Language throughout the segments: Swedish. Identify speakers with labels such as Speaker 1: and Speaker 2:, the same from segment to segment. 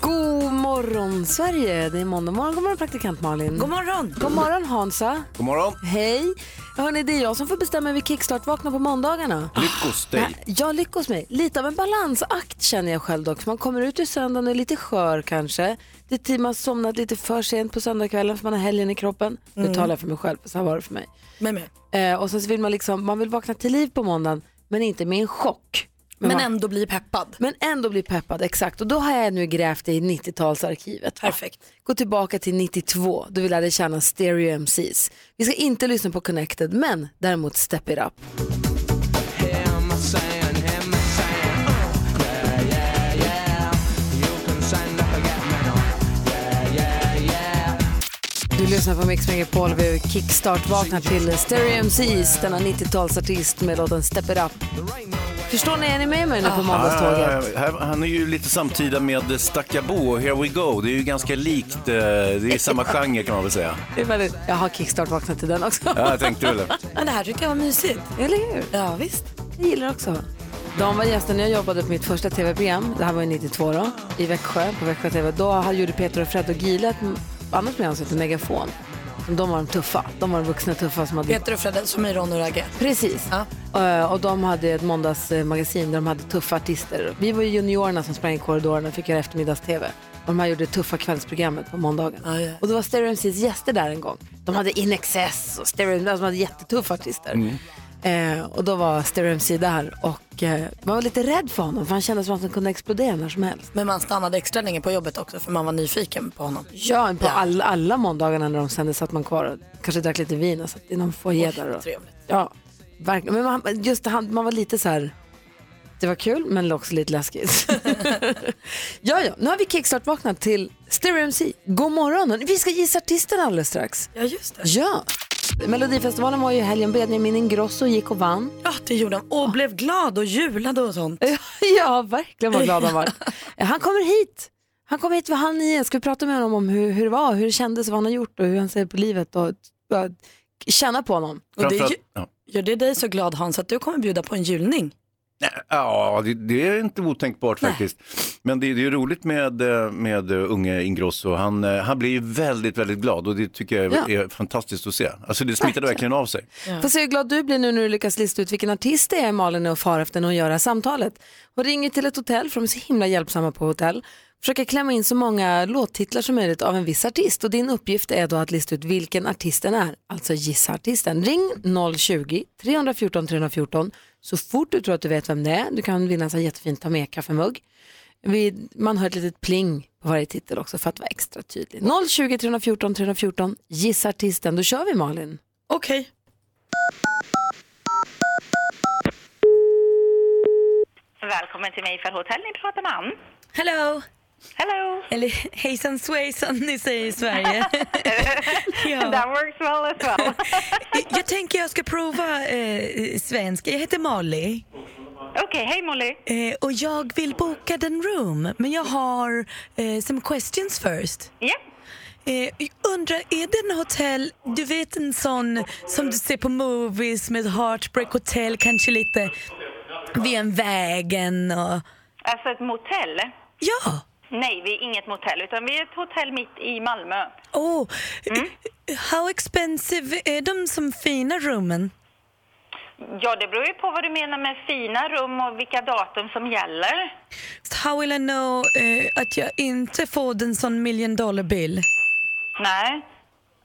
Speaker 1: God morgon, Sverige! Det är måndag morgon. God morgon, praktikant Malin.
Speaker 2: God morgon!
Speaker 1: God morgon, Hansa.
Speaker 3: God morgon.
Speaker 1: Hej! Hörni, det är jag som får bestämma hur vi kickstart-vaknar på måndagarna.
Speaker 3: Lyckos dig.
Speaker 1: Jag lyckas med. Lite av en balansakt känner jag själv dock. Man kommer ut ur söndagen och är lite skör kanske. Det är tid man somnat lite för sent på söndagskvällen för man har helgen i kroppen. Nu
Speaker 2: Mm.
Speaker 1: talar jag för mig själv, så här var det för mig.
Speaker 2: Med mig.
Speaker 1: Eh, och sen så vill man liksom, man vill vakna till liv på måndagen men inte med en chock.
Speaker 2: Men
Speaker 1: man,
Speaker 2: ändå bli peppad.
Speaker 1: men ändå bli peppad, exakt. Och då har jag nu grävt i 90-talsarkivet.
Speaker 2: Perfekt.
Speaker 1: Gå tillbaka till 92, då vi lärde känna Stereo MCs. Vi ska inte lyssna på Connected, men däremot Step It Up. Du lyssnar på Mix Megapol. Vi kickstart-vaknar till Stereo MCs, denna 90-talsartist med låten Step It Up. Förstår ni? Är ni med mig nu på måndagståget?
Speaker 3: Ah, här- Han är ju lite samtida med Stackabo och Here We Go. Det är ju ganska likt. eh, Det är samma genre kan man väl säga.
Speaker 1: Det är väldigt... Jag har kickstart-vaknat till den också.
Speaker 3: Ja, jag tänkte väl det.
Speaker 2: Men det här tycker jag var mysigt.
Speaker 1: Eller hur?
Speaker 2: Ja, visst.
Speaker 1: Jag gillar också. De var gäster när jag jobbade på mitt första tv-program, det här var ju 92 då, i Växjö, på Växjö TV. Då gjorde Peter och Fred och Gile ett annat program som hette Megafon. De var de tuffa, de var de vuxna tuffa som hade...
Speaker 2: Peter och Fredde som är Ron och Ragge.
Speaker 1: Precis.
Speaker 2: Ja.
Speaker 1: Eh, Och de hade ett måndagsmagasin där de hade tuffa artister. Vi var ju juniorerna som sprang i korridorerna och fick göra eftermiddags-tv. Och de här gjorde det tuffa kvällsprogrammet på måndagen.
Speaker 2: Ah, Ja, ja.
Speaker 1: Och då var Stereo MCs gäster där en gång. De hade In Excess och Stereo alltså de hade jättetuffa artister.
Speaker 2: Mm.
Speaker 4: Mm.
Speaker 1: Eh, och då var Stereo MC där och eh, man var lite rädd för honom för han kände som att han kunde explodera när som helst.
Speaker 2: Men man stannade extra länge på jobbet också för man var nyfiken på honom.
Speaker 1: Ja, på all, alla måndagarna när de sände satt man kvar och kanske drack lite vin och satt i någon foajé där. Och,
Speaker 2: Trevligt.
Speaker 1: ja, verkligen. Men man, just det, han, man var lite så här, det var kul men också lite läskigt. ja, ja, nu har vi kickstart-vaknat till Stereo MC. God morgon! Vi ska gissa artisten alldeles strax.
Speaker 2: Ja, just det.
Speaker 1: Ja! Melodifestivalen var ju i helgen. Benjamin Ingrosso gick och vann.
Speaker 2: Ja, det gjorde han. Och blev glad och julade och sånt.
Speaker 1: Ja, verkligen vad glad han var. Han kommer hit. Han kommer hit, vad han är. Ska vi prata med honom om hur, hur det var, hur det kändes, vad han har gjort och hur han ser på livet och bara känna på honom.
Speaker 2: Och det
Speaker 3: Framförallt-
Speaker 2: ju-
Speaker 3: ja.
Speaker 2: gör det dig så glad Hans att du kommer bjuda på en julning.
Speaker 3: Ja, det, det är inte otänkbart faktiskt. Men det, det är roligt med, eh, med eh, unge Ingrosso. Han, eh, han blir ju väldigt, väldigt glad och det tycker jag
Speaker 1: Ja.
Speaker 3: är fantastiskt att se. Alltså det smittade verkligen av sig.
Speaker 1: Får se hur glad du blir nu när du lyckas lista ut vilken artist det är Malin är och far efter när hon gör det här samtalet. Hon ringer till ett hotell, för de är så himla hjälpsamma på hotell. Försöker klämma in så många låttitlar som möjligt av en viss artist och din uppgift är då att lista ut vilken artisten är, alltså gissa artisten. Ring 020-314 314 så fort du tror att du vet vem det är. Du kan vinna en sån här jättefin ta med-kaffemugg. Vi- Man hör ett litet pling på varje titel också för att vara extra tydlig. 020 314 314, gissa artisten. Då kör vi Malin.
Speaker 2: Okej.
Speaker 5: Välkommen till mig för hotell, ni pratar med Ann.
Speaker 6: Hello!
Speaker 5: Hello!
Speaker 6: Eller hejsan svejsan ni säger i Sverige.
Speaker 5: That
Speaker 6: ja.
Speaker 5: works well as well.
Speaker 6: Jag tänker jag ska prova eh, svenska. Jag heter Molly
Speaker 5: Okej, hej Molly!
Speaker 6: eh, och jag vill boka den room men jag har eh, some questions first.
Speaker 5: Ja,
Speaker 6: Eh, undrar, är det en hotell, du vet en sån som du ser på movies med Heartbreak Hotel kanske lite vid en vägen och
Speaker 5: alltså ett motell.
Speaker 6: ja.
Speaker 5: Nej, vi är inget motell, utan vi är ett hotell mitt i Malmö.
Speaker 6: Oh,
Speaker 5: Mm.
Speaker 6: how expensive är de som fina rummen?
Speaker 5: Ja, det beror ju på vad du menar med fina rum och vilka datum som gäller.
Speaker 6: How will I know eh, att jag inte får den sån million dollar bill?
Speaker 5: Nej.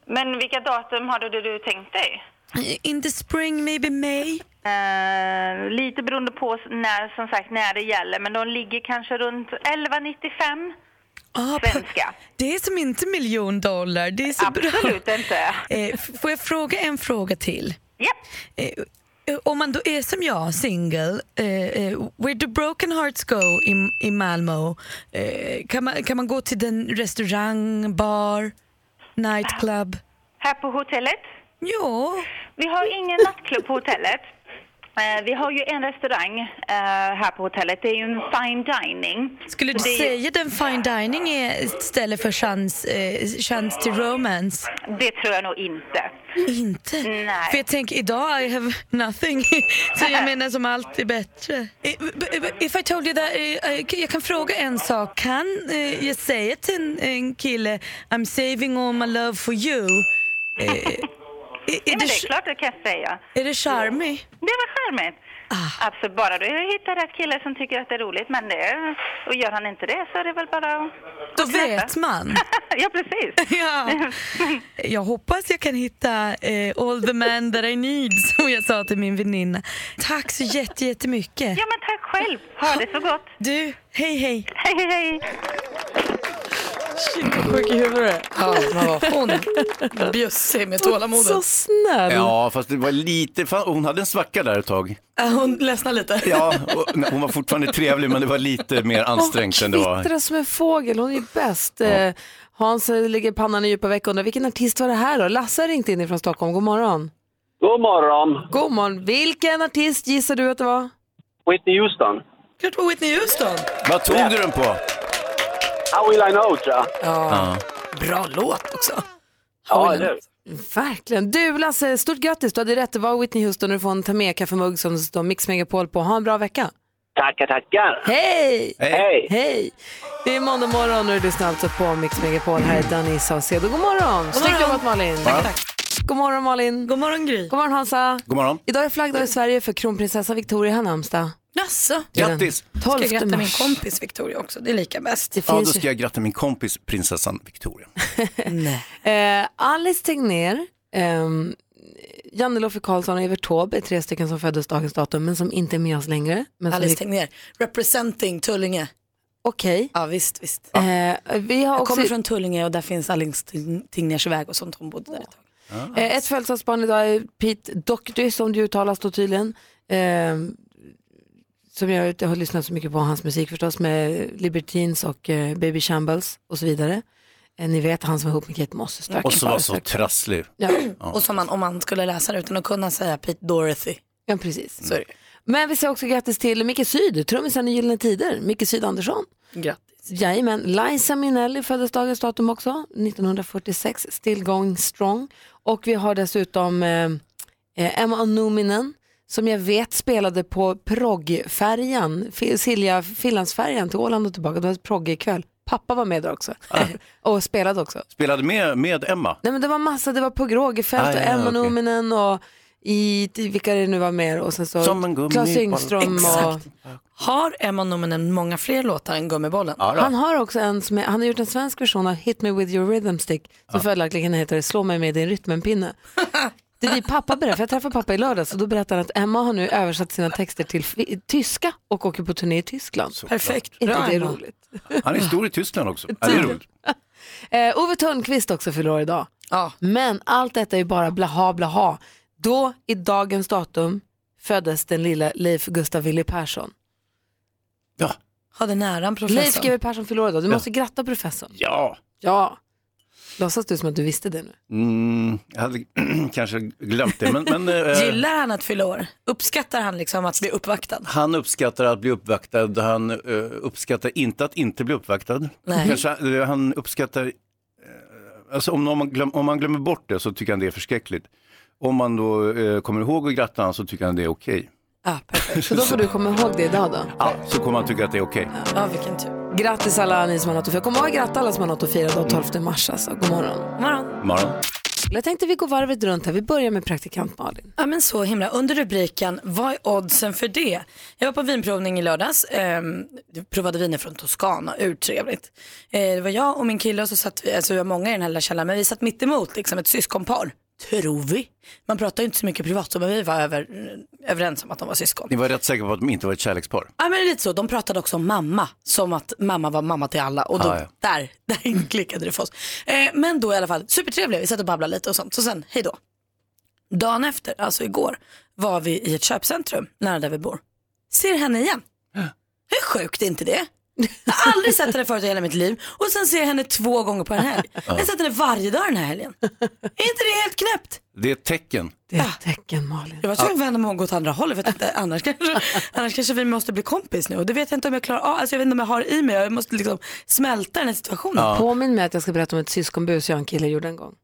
Speaker 5: Men vilka datum hade du, du tänkt dig?
Speaker 6: Eh, In the spring, maybe May?
Speaker 5: Eh, lite beroende på när, som sagt, när det gäller, men de ligger kanske runt 1195
Speaker 6: Ah, pa-
Speaker 5: svenska.
Speaker 6: det är som inte miljon dollar, det är så
Speaker 5: Absolut
Speaker 6: bra.
Speaker 5: inte.
Speaker 6: Eh, f- får jag fråga en fråga till?
Speaker 5: Ja,
Speaker 6: Eh, eh, om man då är som jag, singel, eh, eh, where do broken hearts go i, i Malmö? Eh, kan, man, kan man gå till den restaurang, bar, nightclub?
Speaker 5: här på hotellet.
Speaker 6: Ja,
Speaker 5: Vi har ingen nattklubb på hotellet.
Speaker 7: Eh, Vi har ju en restaurang eh, här på hotellet. Det är ju en fine dining.
Speaker 5: Skulle du
Speaker 7: Det är-
Speaker 5: säga den fine dining är ett ställe för chans, eh, chans till romance?
Speaker 7: Det tror jag nog inte.
Speaker 5: Inte?
Speaker 7: Nej.
Speaker 5: För jag tänker idag I have nothing. Så jag menar som allt är bättre. Eh, b- b- If I told you that, eh, eh, jag kan fråga en sak. Kan eh, jag säga till en, en kille I'm saving all my love for you? Eh, är, är,
Speaker 7: Nej,
Speaker 5: det,
Speaker 7: men det är klart det kan jag säga.
Speaker 5: är det charmig? Ah.
Speaker 7: Det var charmigt. Absolut, bara du hittar rätt kille som tycker att det är roligt. Men det, och gör han inte det så är det väl bara att-
Speaker 5: Då
Speaker 7: att knäppa.
Speaker 5: vet man.
Speaker 7: ja, precis.
Speaker 5: Ja. Jag hoppas jag kan hitta eh, all the man that I need som jag sa till min väninna. Tack så jätte- jättemycket.
Speaker 7: Ja, men tack själv. Ha det så gott.
Speaker 5: Du, hej hej.
Speaker 7: Hej, hej, hej.
Speaker 1: Sjuk i huvudet.
Speaker 6: Ja, men vad hon bjussig med tålamodet.
Speaker 1: Så snäll.
Speaker 3: Ja, fast det var lite, fan, hon hade en svacka där ett tag.
Speaker 6: Äh, Hon ledsnar lite.
Speaker 3: Ja, och, nej, hon var fortfarande trevlig men det var lite mer ansträngt än det
Speaker 1: Hon
Speaker 3: var.
Speaker 1: kvittrar som en fågel, hon är bäst. Eh, Hans eh, ligger pannan i djupa veck och undrar vilken artist var det här då? Lasse har ringt in från Stockholm, god morgon.
Speaker 8: God morgon,
Speaker 1: God morgon, vilken artist gissar du att det var?
Speaker 8: Whitney Houston.
Speaker 6: Klart på Whitney Houston.
Speaker 3: Vad tog du den på?
Speaker 8: How will I know ya?
Speaker 3: Ja.
Speaker 6: Bra låt också.
Speaker 8: Ja, eller hur?
Speaker 1: Verkligen. Du Lasse, stort grattis, du hade rätt, det var Whitney Houston och du får en ta med kaffemugg som det står Mix Megapol på. Ha en bra vecka.
Speaker 8: Tackar, tackar.
Speaker 1: Hej!
Speaker 8: Hej!
Speaker 1: Hej! Det är måndag morgon och du lyssnar alltså på Mix Megapol. Här är Danny Saucedo. God morgon! Snyggt jobbat Malin!
Speaker 3: Ja.
Speaker 1: God morgon Malin!
Speaker 5: God morgon Gry.
Speaker 1: God morgon Hansa!
Speaker 3: God morgon.
Speaker 1: Idag är flaggdag i Sverige för kronprinsessa Victoria har namnsdag.
Speaker 6: Jaså?
Speaker 1: Det är den
Speaker 3: Grattis!
Speaker 1: 12
Speaker 6: Jag ska gratta min
Speaker 1: mars.
Speaker 6: kompis Victoria också. Det är lika bäst.
Speaker 1: Det
Speaker 3: Ja, då
Speaker 1: finns
Speaker 3: ska jag gratta min kompis prinsessan Victoria.
Speaker 1: ju. eh, Alice Tegnér, ehm, Janne-Loffe Karlsson och Evert Taube är tre stycken som föddes dagens datum men som inte är med oss längre. Men som
Speaker 6: Alice
Speaker 1: vi-
Speaker 6: Tegnér, representing Tullinge.
Speaker 1: Okej.
Speaker 6: Ja visst, visst.
Speaker 1: Eh, vi har
Speaker 6: Jag
Speaker 1: också
Speaker 6: kommer från Tullinge och där finns Alice Tegn- Tegnérs väg och sånt. Hon bodde där ett tag.
Speaker 1: eh, ett födelsedagsbarn idag är Pete Doherty som det uttalas då tydligen. Ehm, som jag, jag har lyssnat så mycket på hans musik förstås med Libertines och eh, Baby Shambles och så vidare. Eh, ni vet han som var ihop med Kate Moss. stackars
Speaker 3: Och så var
Speaker 1: barn,
Speaker 3: så
Speaker 1: stackars-
Speaker 3: trasslig.
Speaker 1: Ja.
Speaker 6: Och som man, om man skulle läsa det utan att kunna säga Pete Dorothy.
Speaker 1: Ja, precis.
Speaker 6: Så är det.
Speaker 1: Men vi säger också grattis till Micke Syd, trummisen i Gyllene Tider, Micke Syd Andersson.
Speaker 6: Grattis.
Speaker 1: Jajamän, Liza Minnelli föddes dagens datum också, 1946, still going strong. Och vi har dessutom eh, eh, Emma Numinen som jag vet spelade på proggfärjan, Fi- Silja Finlandsfärjan till Åland och tillbaka, det var ett proggkväll. Pappa var med där också och spelade också.
Speaker 3: Spelade med, med Emma.
Speaker 1: Nej men det var massa, det var på Rogefeldt
Speaker 3: Ah,
Speaker 1: och
Speaker 3: ja,
Speaker 1: Emma
Speaker 3: okej.
Speaker 1: Numinen och i, i- vilka det nu var mer och sen så
Speaker 3: Som en gummi-
Speaker 1: Claes Yngström och
Speaker 6: Exakt. Har Emma Nominen många fler låtar än Gummibollen?
Speaker 3: Ja, då.
Speaker 1: han har också en som är, han har gjort en svensk version av Hit me with your rhythm stick som följaktligen heter Slå mig med din rytmenpinne. Det är pappa berättar, för jag träffade pappa i lördags och då berättade han att Emma har nu översatt sina texter till fi- tyska och åker på turné i Tyskland.
Speaker 6: Perfekt.
Speaker 1: Inte
Speaker 6: Bra,
Speaker 1: det är
Speaker 6: Emma.
Speaker 1: roligt.
Speaker 3: Han är stor i Tyskland också. Ja, det är roligt.
Speaker 1: Eh, Ove Thörnqvist också fyller år idag.
Speaker 6: Ja.
Speaker 1: Men allt detta är bara blaha blaha. Då i dagens datum föddes den lilla Leif Gustav Willy Persson.
Speaker 3: Ja.
Speaker 6: Hade nära en
Speaker 1: Leif
Speaker 6: professor.
Speaker 1: GW Persson fyller år idag. Du måste gratta professorn.
Speaker 3: ja.
Speaker 1: Ja. Låtsas du som att du visste det nu?
Speaker 3: Mm, jag hade kanske glömt det. Men, men, eh,
Speaker 6: Gillar han att fylla år? Uppskattar han liksom att bli uppvaktad?
Speaker 3: Han uppskattar att bli uppvaktad, han eh, uppskattar inte att inte bli uppvaktad.
Speaker 6: Nej.
Speaker 3: Kanske, eh, han uppskattar, eh, alltså om, man glöm, om man glömmer bort det så tycker han det är förskräckligt. Om man då eh, kommer ihåg att gratta honom så tycker han det är okej.
Speaker 6: Ja, perfekt.
Speaker 1: Så då får du komma ihåg det idag då.
Speaker 3: Ja, så kommer han tycka att det är okej.
Speaker 6: Ja, vilken tur.
Speaker 1: Grattis alla ni som har något att fira. Kom ihåg att gratta alla som har något att fira då 12 mars alltså. God morgon.
Speaker 6: Morgon.
Speaker 3: Morgon.
Speaker 1: Jag tänkte vi går varvet runt här. Vi börjar med praktikant Malin.
Speaker 6: Ja men så himla. Under rubriken, vad är oddsen för det? Jag var på vinprovning i lördags, ehm, provade viner från Toscana, urtrevligt. Eh, det var jag och min kille och så satt vi, alltså vi var många i den här lilla källaren, men vi satt mitt emot liksom ett syskonpar. Tror vi. Man pratar ju inte så mycket privat så, men vi var över, eh, överens om att de var syskon.
Speaker 3: Ni var rätt säkra på att de inte var ett kärlekspar.
Speaker 6: Ja men lite så, de pratade också om mamma, som att mamma var mamma till alla och då,
Speaker 3: Ah, ja.
Speaker 6: där, där klickade det för oss. Eh, men då i alla fall, supertrevliga, vi satt och babblade lite och sånt, så sen hej då. Dagen efter, alltså igår, var vi i ett köpcentrum nära där vi bor. Ser henne igen. Hur sjukt är inte det? Jag har aldrig sett henne förut i hela mitt liv och sen ser jag henne två gånger på en helg. Jag har sett henne varje dag den här helgen. Är inte det helt knäppt?
Speaker 3: Det är ett tecken.
Speaker 1: Det är ett tecken Malin.
Speaker 6: Jag var tvungen att vända mig om och gå åt andra hållet för jag tänkte annars kanske, annars kanske vi måste bli kompis nu och det vet jag inte om jag klarar av. Alltså jag vet inte om jag har i mig, jag måste liksom smälta den här situationen.
Speaker 1: Påminn mig att jag ska berätta om ett syskonbus jag och en kille gjorde en gång.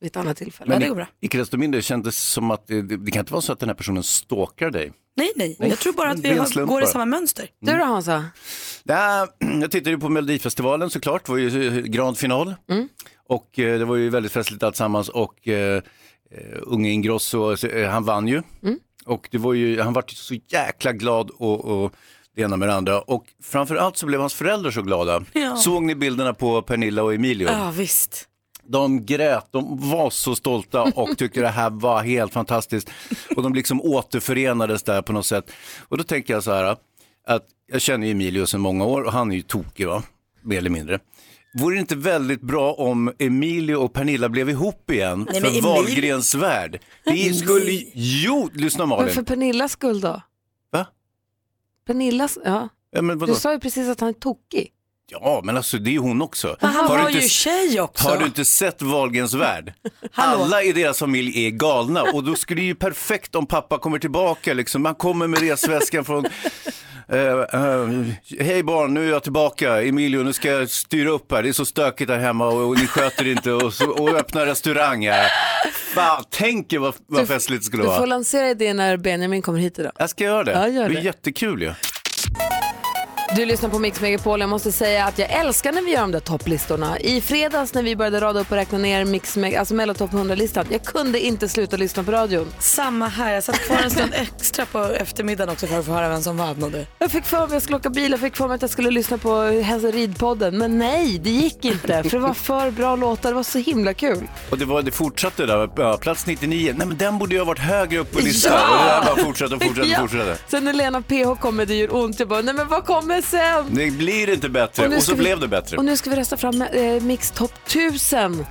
Speaker 1: Vid ett annat tillfälle.
Speaker 6: Men-
Speaker 1: Men,
Speaker 6: det går bra.
Speaker 3: i- icke desto mindre kändes som att det, det, det kan inte vara så att den här personen stalkar dig.
Speaker 6: Nej, nej, jag tror bara att
Speaker 3: Det är
Speaker 6: vi
Speaker 3: en
Speaker 6: har,
Speaker 3: slump
Speaker 6: går i
Speaker 3: bara. Mm.
Speaker 6: samma mönster.
Speaker 1: du då Hansa?
Speaker 3: Nej, jag tittade ju på Melodifestivalen såklart, det var ju eh, grand final.
Speaker 6: Mm.
Speaker 3: Och eh, det var ju väldigt festligt alltsammans och eh, eh, unge Ingrosso, alltså, eh, han vann ju.
Speaker 6: Mm.
Speaker 3: Och det var ju, han var så jäkla glad och, och det ena med det andra. Och framförallt så blev hans föräldrar så glada.
Speaker 6: Ja.
Speaker 3: Såg ni bilderna på Pernilla och Emilio?
Speaker 6: Ja visst.
Speaker 3: De grät, de var så stolta och tyckte det här var helt fantastiskt. Och de liksom återförenades där på något sätt. Och då tänker jag så här, att jag känner ju Emilio sedan många år och han är ju tokig va, mer eller mindre. Vore det inte väldigt bra om Emilio och Pernilla blev ihop igen
Speaker 6: Nej, men
Speaker 3: för
Speaker 6: Emilio-
Speaker 3: Wahlgrens värld? Det skulle, jo, lyssna
Speaker 1: Men
Speaker 3: Malin.
Speaker 1: för Pernillas skull då?
Speaker 3: Va?
Speaker 1: Pernillas, ja.
Speaker 3: Ja, men
Speaker 1: Du
Speaker 3: vadå?
Speaker 1: sa ju precis att han är tokig.
Speaker 3: Ja, men alltså det är ju hon också.
Speaker 6: Men han
Speaker 3: Har
Speaker 6: var
Speaker 3: du
Speaker 6: ju
Speaker 3: inte-
Speaker 6: tjej också.
Speaker 3: Har du inte sett Wahlgrens värld?
Speaker 6: Hallå.
Speaker 3: Alla i deras familj är galna och då skulle det ju perfekt om pappa kommer tillbaka liksom. Man kommer med resväskan från eh, eh, Hej barn, nu är jag tillbaka. Emilio, nu ska jag styra upp här. Det är så stökigt här hemma och, och ni sköter inte och, så, och öppna restaurang här. Fan, tänk er vad, vad festligt det skulle
Speaker 1: Du får
Speaker 3: vara.
Speaker 1: lansera idén när Benjamin kommer hit idag.
Speaker 3: Jag ska göra det.
Speaker 1: Ja, gör
Speaker 3: det.
Speaker 1: det.
Speaker 3: är jättekul ju.
Speaker 1: Du lyssnar på Mix Megapol. Jag måste säga att jag älskar när vi gör de där topplistorna. I fredags när vi började rada upp och räkna ner Mix Meg- alltså Mellotopp 100-listan, jag kunde inte sluta lyssna på radion.
Speaker 6: Samma här, jag satt kvar en stund extra på eftermiddagen också för att få höra vem som vann och det.
Speaker 1: Jag fick för mig att jag skulle åka bil, jag fick för mig att jag skulle lyssna på Hälsa Ridpodden. Men nej, det gick inte för det var för bra låtar, det var så himla kul.
Speaker 3: Och det, var, det fortsatte där, ja, plats 99. Nej men den borde ju ha varit högre upp på listan. Och det där bara fortsatte och fortsatte och fortsatte.
Speaker 1: Sen när Lena PH kom med Det gör ont, jag bara, nej men vad kommer sen?
Speaker 3: Det blir inte
Speaker 1: Och nu
Speaker 3: bättre och
Speaker 1: ska
Speaker 3: så
Speaker 1: vi-
Speaker 3: blev det bättre.
Speaker 1: Och nu ska vi rösta fram eh, Mix Top 1000.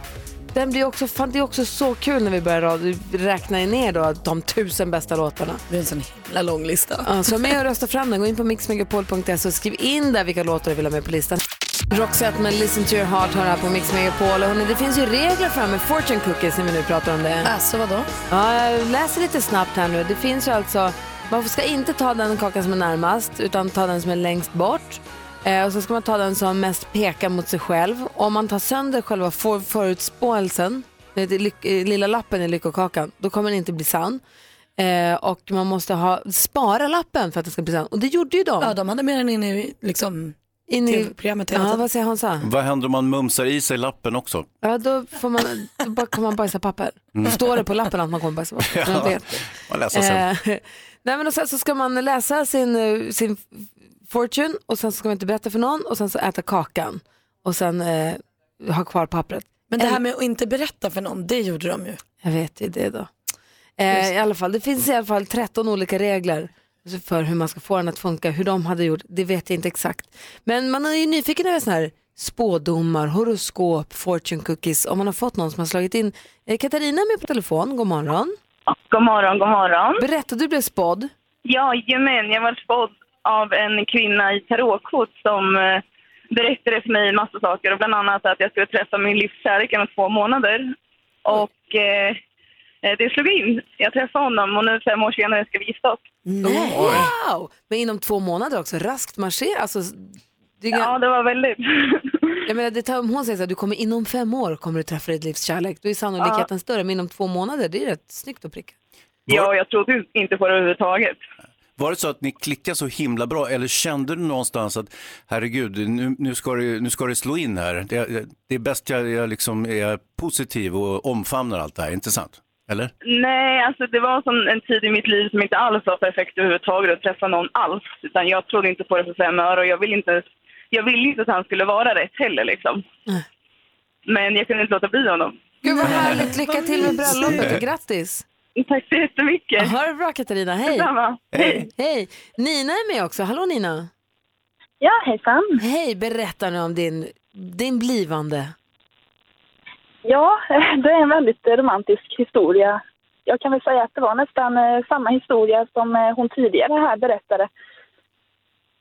Speaker 1: Den blir också, fan, det är också så kul när vi börjar rad- räkna ner då, de tusen bästa låtarna.
Speaker 6: Det är en sån himla lång lista.
Speaker 1: Ja, så med och rösta fram den. Gå in på mixmegapol.se och skriv in där vilka låtar du vill ha med på listan. Roxette med Listen to your heart har här på Mix Megapol. Och hörni, det finns ju regler för det här med fortune cookies när vi nu pratar om det.
Speaker 6: Alltså vadå?
Speaker 1: Ja, jag läser lite snabbt här nu. Det finns ju alltså, man ska inte ta den kakan som är närmast utan ta den som är längst bort. Eh, och så ska man ta den som mest pekar mot sig själv. Om man tar sönder själva for- förutspåelsen, det är lyck- eh, lilla lappen i lyckokakan, då kommer den inte bli sann. Eh, och man måste ha, spara lappen för att den ska bli sann. Och det gjorde ju de.
Speaker 6: Ja de hade med den inne i liksom,
Speaker 1: In i,
Speaker 6: tv-programmet hela
Speaker 1: ja,
Speaker 6: tiden.
Speaker 1: vad säger Hansa?
Speaker 3: Vad händer om man mumsar i sig lappen också?
Speaker 1: Ja, då, får man, då bara kommer man bajsa papper. Står det på lappen att man kommer bajsa papper? Men jag vet.
Speaker 3: Mm. Man läser sen.
Speaker 1: Eh, nej men och sen så ska man läsa sin, eh, sin fortune och sen så ska man inte berätta för någon och sen så äta kakan och sen eh, ha kvar pappret.
Speaker 6: Men det här med att inte berätta för någon, det gjorde de ju.
Speaker 1: Jag vet ju det då. Eh, I alla fall, det finns i alla fall 13 olika regler för hur man ska få den att funka. Hur de hade gjort, det vet jag inte exakt. Men man är ju nyfiken över sådana här spådomar, horoskop, fortune cookies. Om man har fått någon som har slagit in. Eh, Katarina är med på telefon, god morgon.
Speaker 2: God morgon, god morgon.
Speaker 1: Berätta, du blev spådd.
Speaker 2: Jajamän, jag var spådd av en kvinna i tarotkort som eh, berättade för mig massa saker och bland annat att jag skulle träffa min livskärlek om två månader. Och eh, eh, det slog in. Jag träffade honom och nu fem år senare ska vi gifta oss.
Speaker 1: Wow! Men inom två månader också, raskt marscherat. Alltså, det, är-
Speaker 2: Ja, det var väldigt...
Speaker 1: jag menar, det tar, om hon säger så här, du kommer inom fem år kommer du träffa ditt livs kärlek, då är sannolikheten större. Men inom två månader, det är rätt snyggt att pricka.
Speaker 2: ja, jag trodde ju inte på det överhuvudtaget.
Speaker 3: Var det så att ni klickade så himla bra eller kände du någonstans att herregud, nu, nu, ska, det, nu ska det slå in här. Det, det är bäst jag, jag liksom är positiv och omfamnar allt det här, inte sant? Eller?
Speaker 2: Nej, alltså det var som en tid i mitt liv som inte alls var perfekt överhuvudtaget att träffa någon alls. Utan jag trodde inte på det för fem öre och jag ville inte, ens- jag ville inte att han skulle vara rätt heller liksom. Men jag kunde inte låta bli honom.
Speaker 1: Gud vad härligt, lycka till med bröllopet och grattis.
Speaker 2: Tack så jättemycket.
Speaker 1: Ha det bra Katarina, hej.
Speaker 2: Detsamma. Hej.
Speaker 1: Hej. Nina är med också, hallå Nina.
Speaker 9: Ja, hejsan.
Speaker 1: Hej, berätta nu om din, din blivande.
Speaker 9: Ja, det är en väldigt eh, romantisk historia. Jag kan väl säga att det var nästan eh, samma historia som eh, hon tidigare här berättade.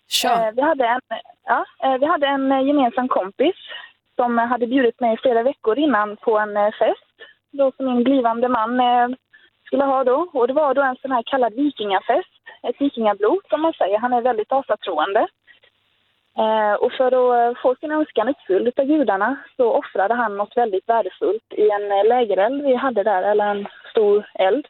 Speaker 1: Kör.
Speaker 9: Eh, Vi hade, en, ja, eh, vi hade en eh, gemensam kompis som eh, hade bjudit mig flera veckor innan på en eh, fest då som min blivande man eh, skulle ha då. Och det var då en sån här kallad vikingafest, ett vikingablod som man säger. Han är väldigt asatroende. Eh, och för att eh, få sin önskan uppfylld av gudarna så offrade han något väldigt värdefullt i en eh, lägereld vi hade där, eller en stor eld.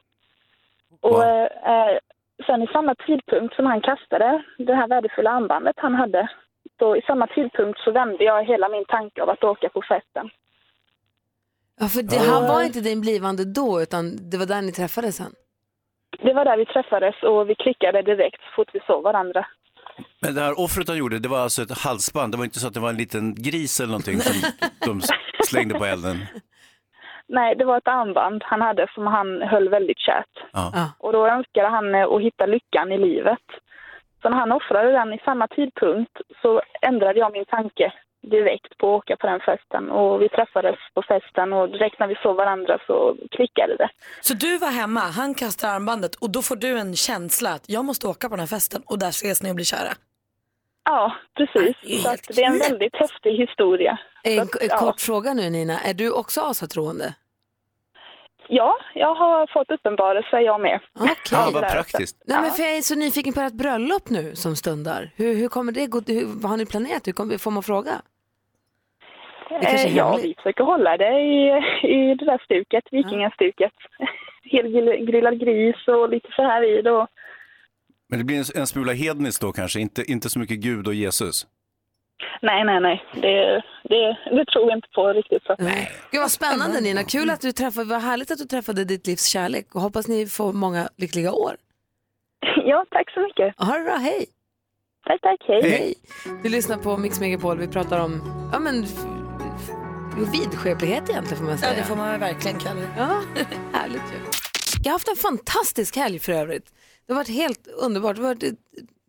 Speaker 9: Och eh, eh, sen i samma tidpunkt som han kastade det här värdefulla armbandet han hade, så i samma tidpunkt så vände jag hela min tanke av att åka på festen.
Speaker 1: Ja, för det, han var inte din blivande då, utan det var där ni träffades sen.
Speaker 9: Det var där vi träffades och vi klickade direkt så fort vi såg varandra.
Speaker 3: Men det här offret han gjorde, det var alltså ett halsband. Det var inte så att det var en liten gris eller någonting som de slängde på elden.
Speaker 9: Nej, det var ett armband han hade som han höll väldigt kärt.
Speaker 3: Ja.
Speaker 9: Och då önskade han eh, att hitta lyckan i livet. Så när han offrade den i samma tidpunkt så ändrade jag min tanke direkt på att åka på den festen. Och vi träffades på festen och direkt när vi såg varandra så klickade det.
Speaker 6: Så du var hemma, han kastar armbandet och då får du en känsla att jag måste åka på den här festen och där ses ni och blir kära.
Speaker 9: Ja, precis. Så att det är en väldigt häftig historia.
Speaker 1: En,
Speaker 9: Så att,
Speaker 1: en
Speaker 9: ja.
Speaker 1: Eh, kort fråga nu Nina, är du också asatroende?
Speaker 9: Ja, jag har fått uppenbarelse jag med.
Speaker 1: Okej.
Speaker 3: Ja, vad praktiskt.
Speaker 1: Nej, men för jag är så nyfiken på ert bröllop nu som stundar. Hur, hur kommer det gå? Hur, vad har ni planerat? Hur kommer, får man fråga? Det kanske är
Speaker 9: Eh, ja,
Speaker 1: hemligt.
Speaker 9: vi försöker hålla det i, i det där stuket, vikingastuket. Helgrillad gris och lite så här i då.
Speaker 3: Men det blir en, en smula hedniskt då kanske, inte, inte så mycket Gud och Jesus.
Speaker 9: Nej, nej, nej. Det, det, det tror jag inte på riktigt. Så.
Speaker 1: Nej. Gud vad spännande Nina, kul att du träffade, vad härligt att du träffade ditt livs kärlek och hoppas ni får många lyckliga år.
Speaker 9: Ja, tack så mycket.
Speaker 1: Ha det bra, hej!
Speaker 9: Tack, tack. Hej.
Speaker 1: Hej! Du lyssnar på Mix Megapol, vi pratar om ja, men, f- f- vidskeplighet egentligen får man
Speaker 6: Ja,
Speaker 1: säga.
Speaker 6: det får man väl verkligen kalla det.
Speaker 1: Ja, härligt ju. Jag har haft en fantastisk helg för övrigt. Det har varit helt underbart. Det har, varit,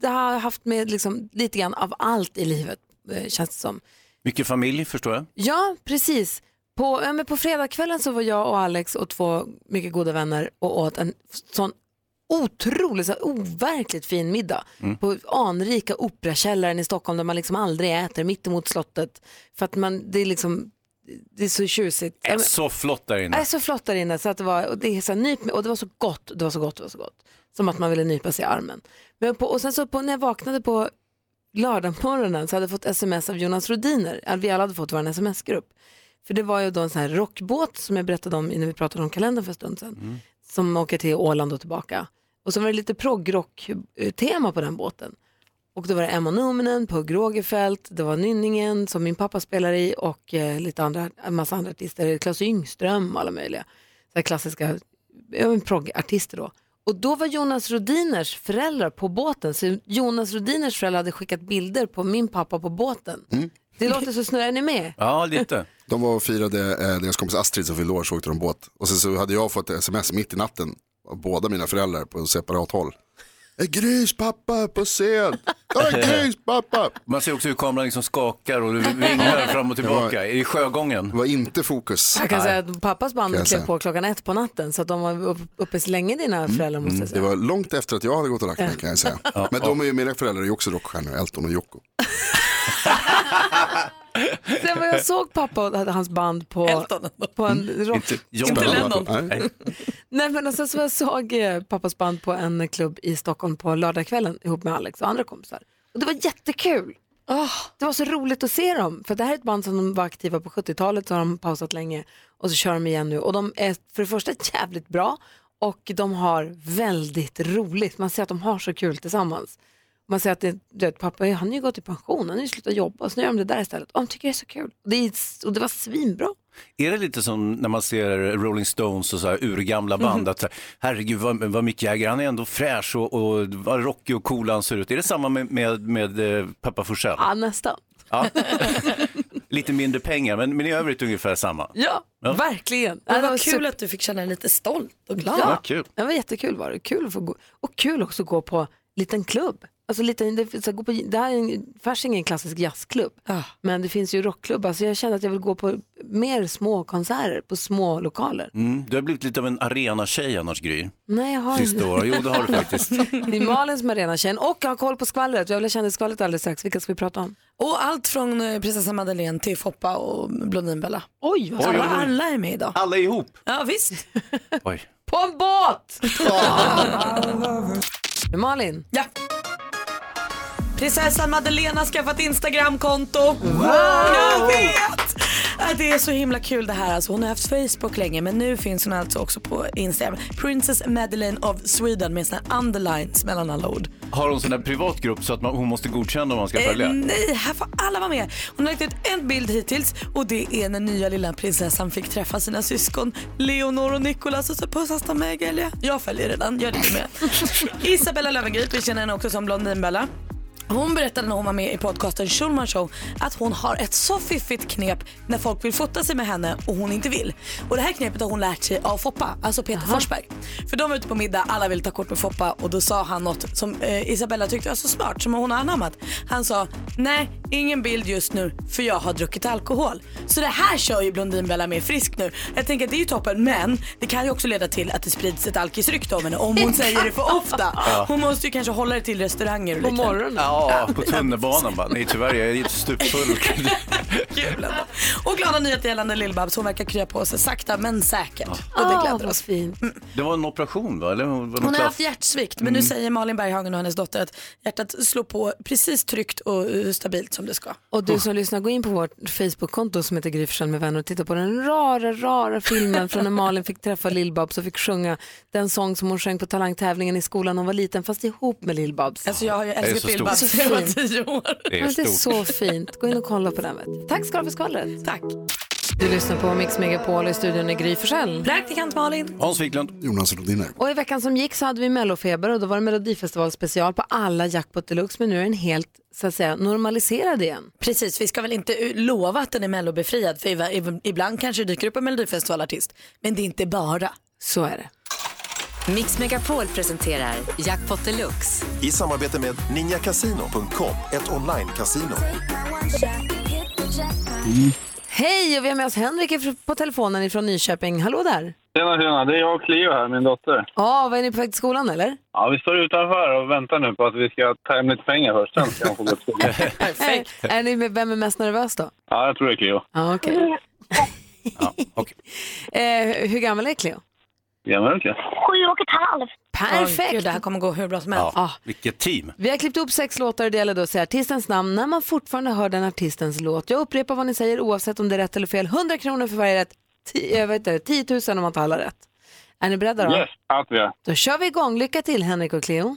Speaker 1: det har haft med liksom lite grann av allt i livet eh, känns det som.
Speaker 3: Mycket familj förstår jag.
Speaker 1: Ja, precis. På, ja, men på fredagskvällen så var jag och Alex och två mycket goda vänner och åt en sån otroligt, så här, overkligt fin middag på anrika Operakällaren i Stockholm där man liksom aldrig äter mittemot slottet för att man, det är liksom det är så tjusigt. Ja,
Speaker 3: Är
Speaker 1: men- Alltså,
Speaker 3: så flott där
Speaker 1: det är
Speaker 3: inne.
Speaker 1: så flott där inne så att det var, och det, är så här, nyp, och det var så gott, det var så gott, det var så gott. Som att man ville nypa sig i armen. Men på, och sen så på, när jag vaknade på lördagmorgonen så hade jag fått sms av Jonas Rodiner, att vi alla hade fått vår sms-grupp. För det var ju då en sån här rockbåt som jag berättade om innan vi pratade om kalendern för en stund sedan.
Speaker 3: Mm.
Speaker 1: Som åker till Åland och tillbaka. Och så var det lite proggrock-tema på den båten. Och då var det Emma Numminen, Pugh Rogefeldt, det var Nynningen som min pappa spelar i och eh, lite andra, en massa andra artister, Claes Yngström och alla möjliga. Så här klassiska ja, men proggartister då. Och då var Jonas Rodiners föräldrar på båten, så Jonas Rodiners föräldrar hade skickat bilder på min pappa på båten. Det låter så snurrigt, är ni med?
Speaker 3: Ja, lite.
Speaker 10: Mm. De var och firade eh, deras kompis Astrid som fyllde år så åkte de båt. Och sen så hade jag fått ett sms mitt i natten av båda mina föräldrar på separat håll. Eh, Grys pappa på scen! Eh, Grys pappa!
Speaker 3: Man ser också hur kameran liksom skakar och vinglar fram och tillbaka i
Speaker 10: Det
Speaker 3: sjögången.
Speaker 10: var inte fokus.
Speaker 1: Jag kan säga att pappas
Speaker 10: Kan
Speaker 1: band
Speaker 10: jag
Speaker 1: klev
Speaker 10: säga. Mm.
Speaker 1: på klockan ett på natten så att de var upp- uppe så länge dina föräldrar måste jag
Speaker 10: Det
Speaker 1: säga.
Speaker 10: var långt efter att jag hade gått och lagt mig kan jag säga. Men de är ju, mina föräldrar är ju också rockstjärnor, Elton och Jocko.
Speaker 1: Sen var jag såg pappa och hade hans band på,
Speaker 6: Elton.
Speaker 1: på
Speaker 10: Mm.
Speaker 1: en rock...
Speaker 3: Inte John.
Speaker 6: Lennon.
Speaker 10: Nej.
Speaker 1: Nej men alltså så jag såg eh, pappas band på en klubb i Stockholm på lördagskvällen ihop med Alex och andra kompisar. Och det var jättekul. Det var så roligt att se dem. För det här är ett band som de var aktiva på 70-talet så har de pausat länge och så kör de igen nu. Och de är för det första jävligt bra och de har väldigt roligt. Man ser att de har så kul tillsammans. Man ser att det, du vet, pappa han har ju gått i pension, han har ju slutat jobba så nu gör de det där istället. Och de tycker det är så kul. Och det, är, och det var svinbra.
Speaker 3: Är det lite som när man ser Rolling Stones och så här urgamla band? Att så här, herregud vad, vad Mick Jagger, han är ändå fräsch och, och vad rockig och cool han ser ut. Är det samma med, med, med eh, pappa Forsell?
Speaker 1: Ja nästan.
Speaker 3: Ja. lite mindre pengar, men, men i övrigt ungefär samma.
Speaker 1: Ja, verkligen. Ja,
Speaker 6: Men
Speaker 1: det
Speaker 6: vad
Speaker 1: var
Speaker 6: kul att du fick känna dig lite stolt och glad.
Speaker 1: Ja,
Speaker 3: Vad kul.
Speaker 1: det var jättekul var det. Kul att få gå. Och kul också att gå på liten klubb. Alltså liten, det, finns- så gå på, det här är en, Färs är ingen klassisk jazzklubb, men det finns ju rockklubbar så jag känner att jag vill gå på mer små konserter på små lokaler.
Speaker 3: Mm, du har blivit lite av en arenatjej annars Gry.
Speaker 1: Nej, jag har
Speaker 3: Sista åren. Jo, det har du faktiskt.
Speaker 1: Det är Malin som är rena tjejen och jag har koll på skvallret. Jag vill ha kändisskvallret alldeles strax. Vilka ska vi prata om?
Speaker 6: Och allt från eh, prinsessa Madeleine till Foppa och Blondinbella.
Speaker 1: Oj,
Speaker 3: Oj, oj,
Speaker 6: alla,
Speaker 3: oj.
Speaker 6: alla är med idag.
Speaker 3: Alla ihop.
Speaker 6: Ja visst.
Speaker 3: Oj.
Speaker 1: På en båt! Malin,
Speaker 6: Ja. Prinsessan Madeleine har skaffat Instagramkonto. Jag vet! Äh, Det är så himla kul det här. Alltså, hon har haft Facebook länge men nu finns hon alltså också på Instagram. Princess Madeleine of Sweden med sådana här underlines mellan alla ord.
Speaker 3: Har hon sån där privat grupp så att man, hon måste godkänna om man ska följa?
Speaker 6: Eh, nej, här får alla vara med. Hon har lagt ut en bild hittills och det är när nya lilla prinsessan fick träffa sina syskon Leonor och Nicolas och så pussas de med Egelia. Jag följer redan, gör det med. Isabella Löwengrip, vi känner henne också som Blondinbella. Hon berättade när hon var med i podcasten Schulman Show att hon har ett så fiffigt knep när folk vill fota sig med henne och hon inte vill. Och det här knepet har hon lärt sig av Foppa, alltså Peter Forsberg. För de var ute på middag, alla ville ta kort med Foppa och då sa han något som eh, Isabella tyckte var så smart som hon har anammat. Han sa, nej ingen bild just nu för jag har druckit alkohol. Så det här kör ju Blondinbella med frisk nu. Jag tänker att det är ju toppen men det kan ju också leda till att det sprids ett alkisrykte om henne om hon säger det för ofta. Hon måste ju kanske hålla det till restauranger och
Speaker 1: på
Speaker 6: liknande.
Speaker 1: morgonen.
Speaker 3: Ja, på tunnelbanan bara. Nej, tyvärr, jag är stupfull.
Speaker 6: Kul ändå. Och glada nyheter gällande Lill-Babs. Hon verkar krya på sig sakta men säkert. Och det
Speaker 1: Ah,
Speaker 6: gläder
Speaker 1: vad
Speaker 6: oss.
Speaker 1: fint.
Speaker 3: Det var en operation, va? Eller, var det
Speaker 6: Hon
Speaker 3: något
Speaker 6: har
Speaker 3: klaff-
Speaker 6: haft hjärtsvikt men
Speaker 3: Mm.
Speaker 6: nu säger Malin Berghagen och hennes dotter att hjärtat slår på precis tryggt och eh, stabilt som det ska.
Speaker 1: Och
Speaker 3: Oh.
Speaker 1: du som lyssnar, gå in på vårt Facebook-konto som heter Gryfsjön med vänner och titta på den rara, rara filmen från när Malin fick träffa Lill-Babs och fick sjunga den sång som hon sjöng på talangtävlingen i skolan när hon var liten, fast ihop med Lill-Babs.
Speaker 6: Alltså jag har ju älskat
Speaker 3: så stort.
Speaker 6: Lill-Babs sedan jag var tio år.
Speaker 3: Det
Speaker 1: Ja,
Speaker 3: är
Speaker 1: Det är
Speaker 3: stort.
Speaker 1: så fint. Gå in och kolla på den. Vet. du. Tack ska du ha för skvallret.
Speaker 6: Tack.
Speaker 1: Du lyssnar på Mix Megapol i studion i Gry Forssell.
Speaker 6: Praktikant Malin.
Speaker 3: Hans Wiklund.
Speaker 10: Jonas Rodiner.
Speaker 1: Och i veckan som gick så hade vi mellofeber och då var det melodifestivalspecial på alla Jackpot Deluxe men nu är den helt så att säga normaliserad igen.
Speaker 6: Precis, vi ska väl inte u- lova att den är mellobefriad för iva- iv- ibland kanske det dyker upp en melodifestivalartist. Men det är inte bara.
Speaker 1: Så är det.
Speaker 11: Mix Megapol presenterar Jackpot Deluxe.
Speaker 12: I samarbete med ninjakasino.com, ett online-casino.
Speaker 1: Hej och vi har med oss Henrik på telefonen ifrån Nyköping. Hallå där!
Speaker 8: Tjena, tjena. Det är jag och Cleo här, min dotter.
Speaker 1: Ja, vad är ni på väg till skolan eller?
Speaker 8: Ja, vi står utanför och väntar nu på att vi ska ta hem lite pengar först. Sen ska hon få gå till skolan.
Speaker 1: Perfekt. Eh, Är, är ni, vem är mest nervös då?
Speaker 8: Ja, jag tror det är Cleo.
Speaker 1: Ja, okej.
Speaker 9: Mm.
Speaker 3: okej.
Speaker 1: eh, hur gammal är Cleo?
Speaker 8: Jämnmjölk,
Speaker 9: Sju och ett halvt.
Speaker 6: Åh,
Speaker 1: Perfekt!
Speaker 6: Gud, det här kommer gå hur bra som helst.
Speaker 1: ah.
Speaker 3: Ja, vilket team.
Speaker 1: Vi har klippt upp sex låtar och det gäller då att säga artistens namn när man fortfarande hör den artistens låt. Jag upprepar vad ni säger oavsett om det är rätt eller fel. 100 kronor för varje rätt. 10, jag vet inte, 10 000 om man inte alla rätt. Är ni beredda då?
Speaker 8: Yes, att vi är.
Speaker 1: Då kör vi igång. Lycka till Henrik och Cleo.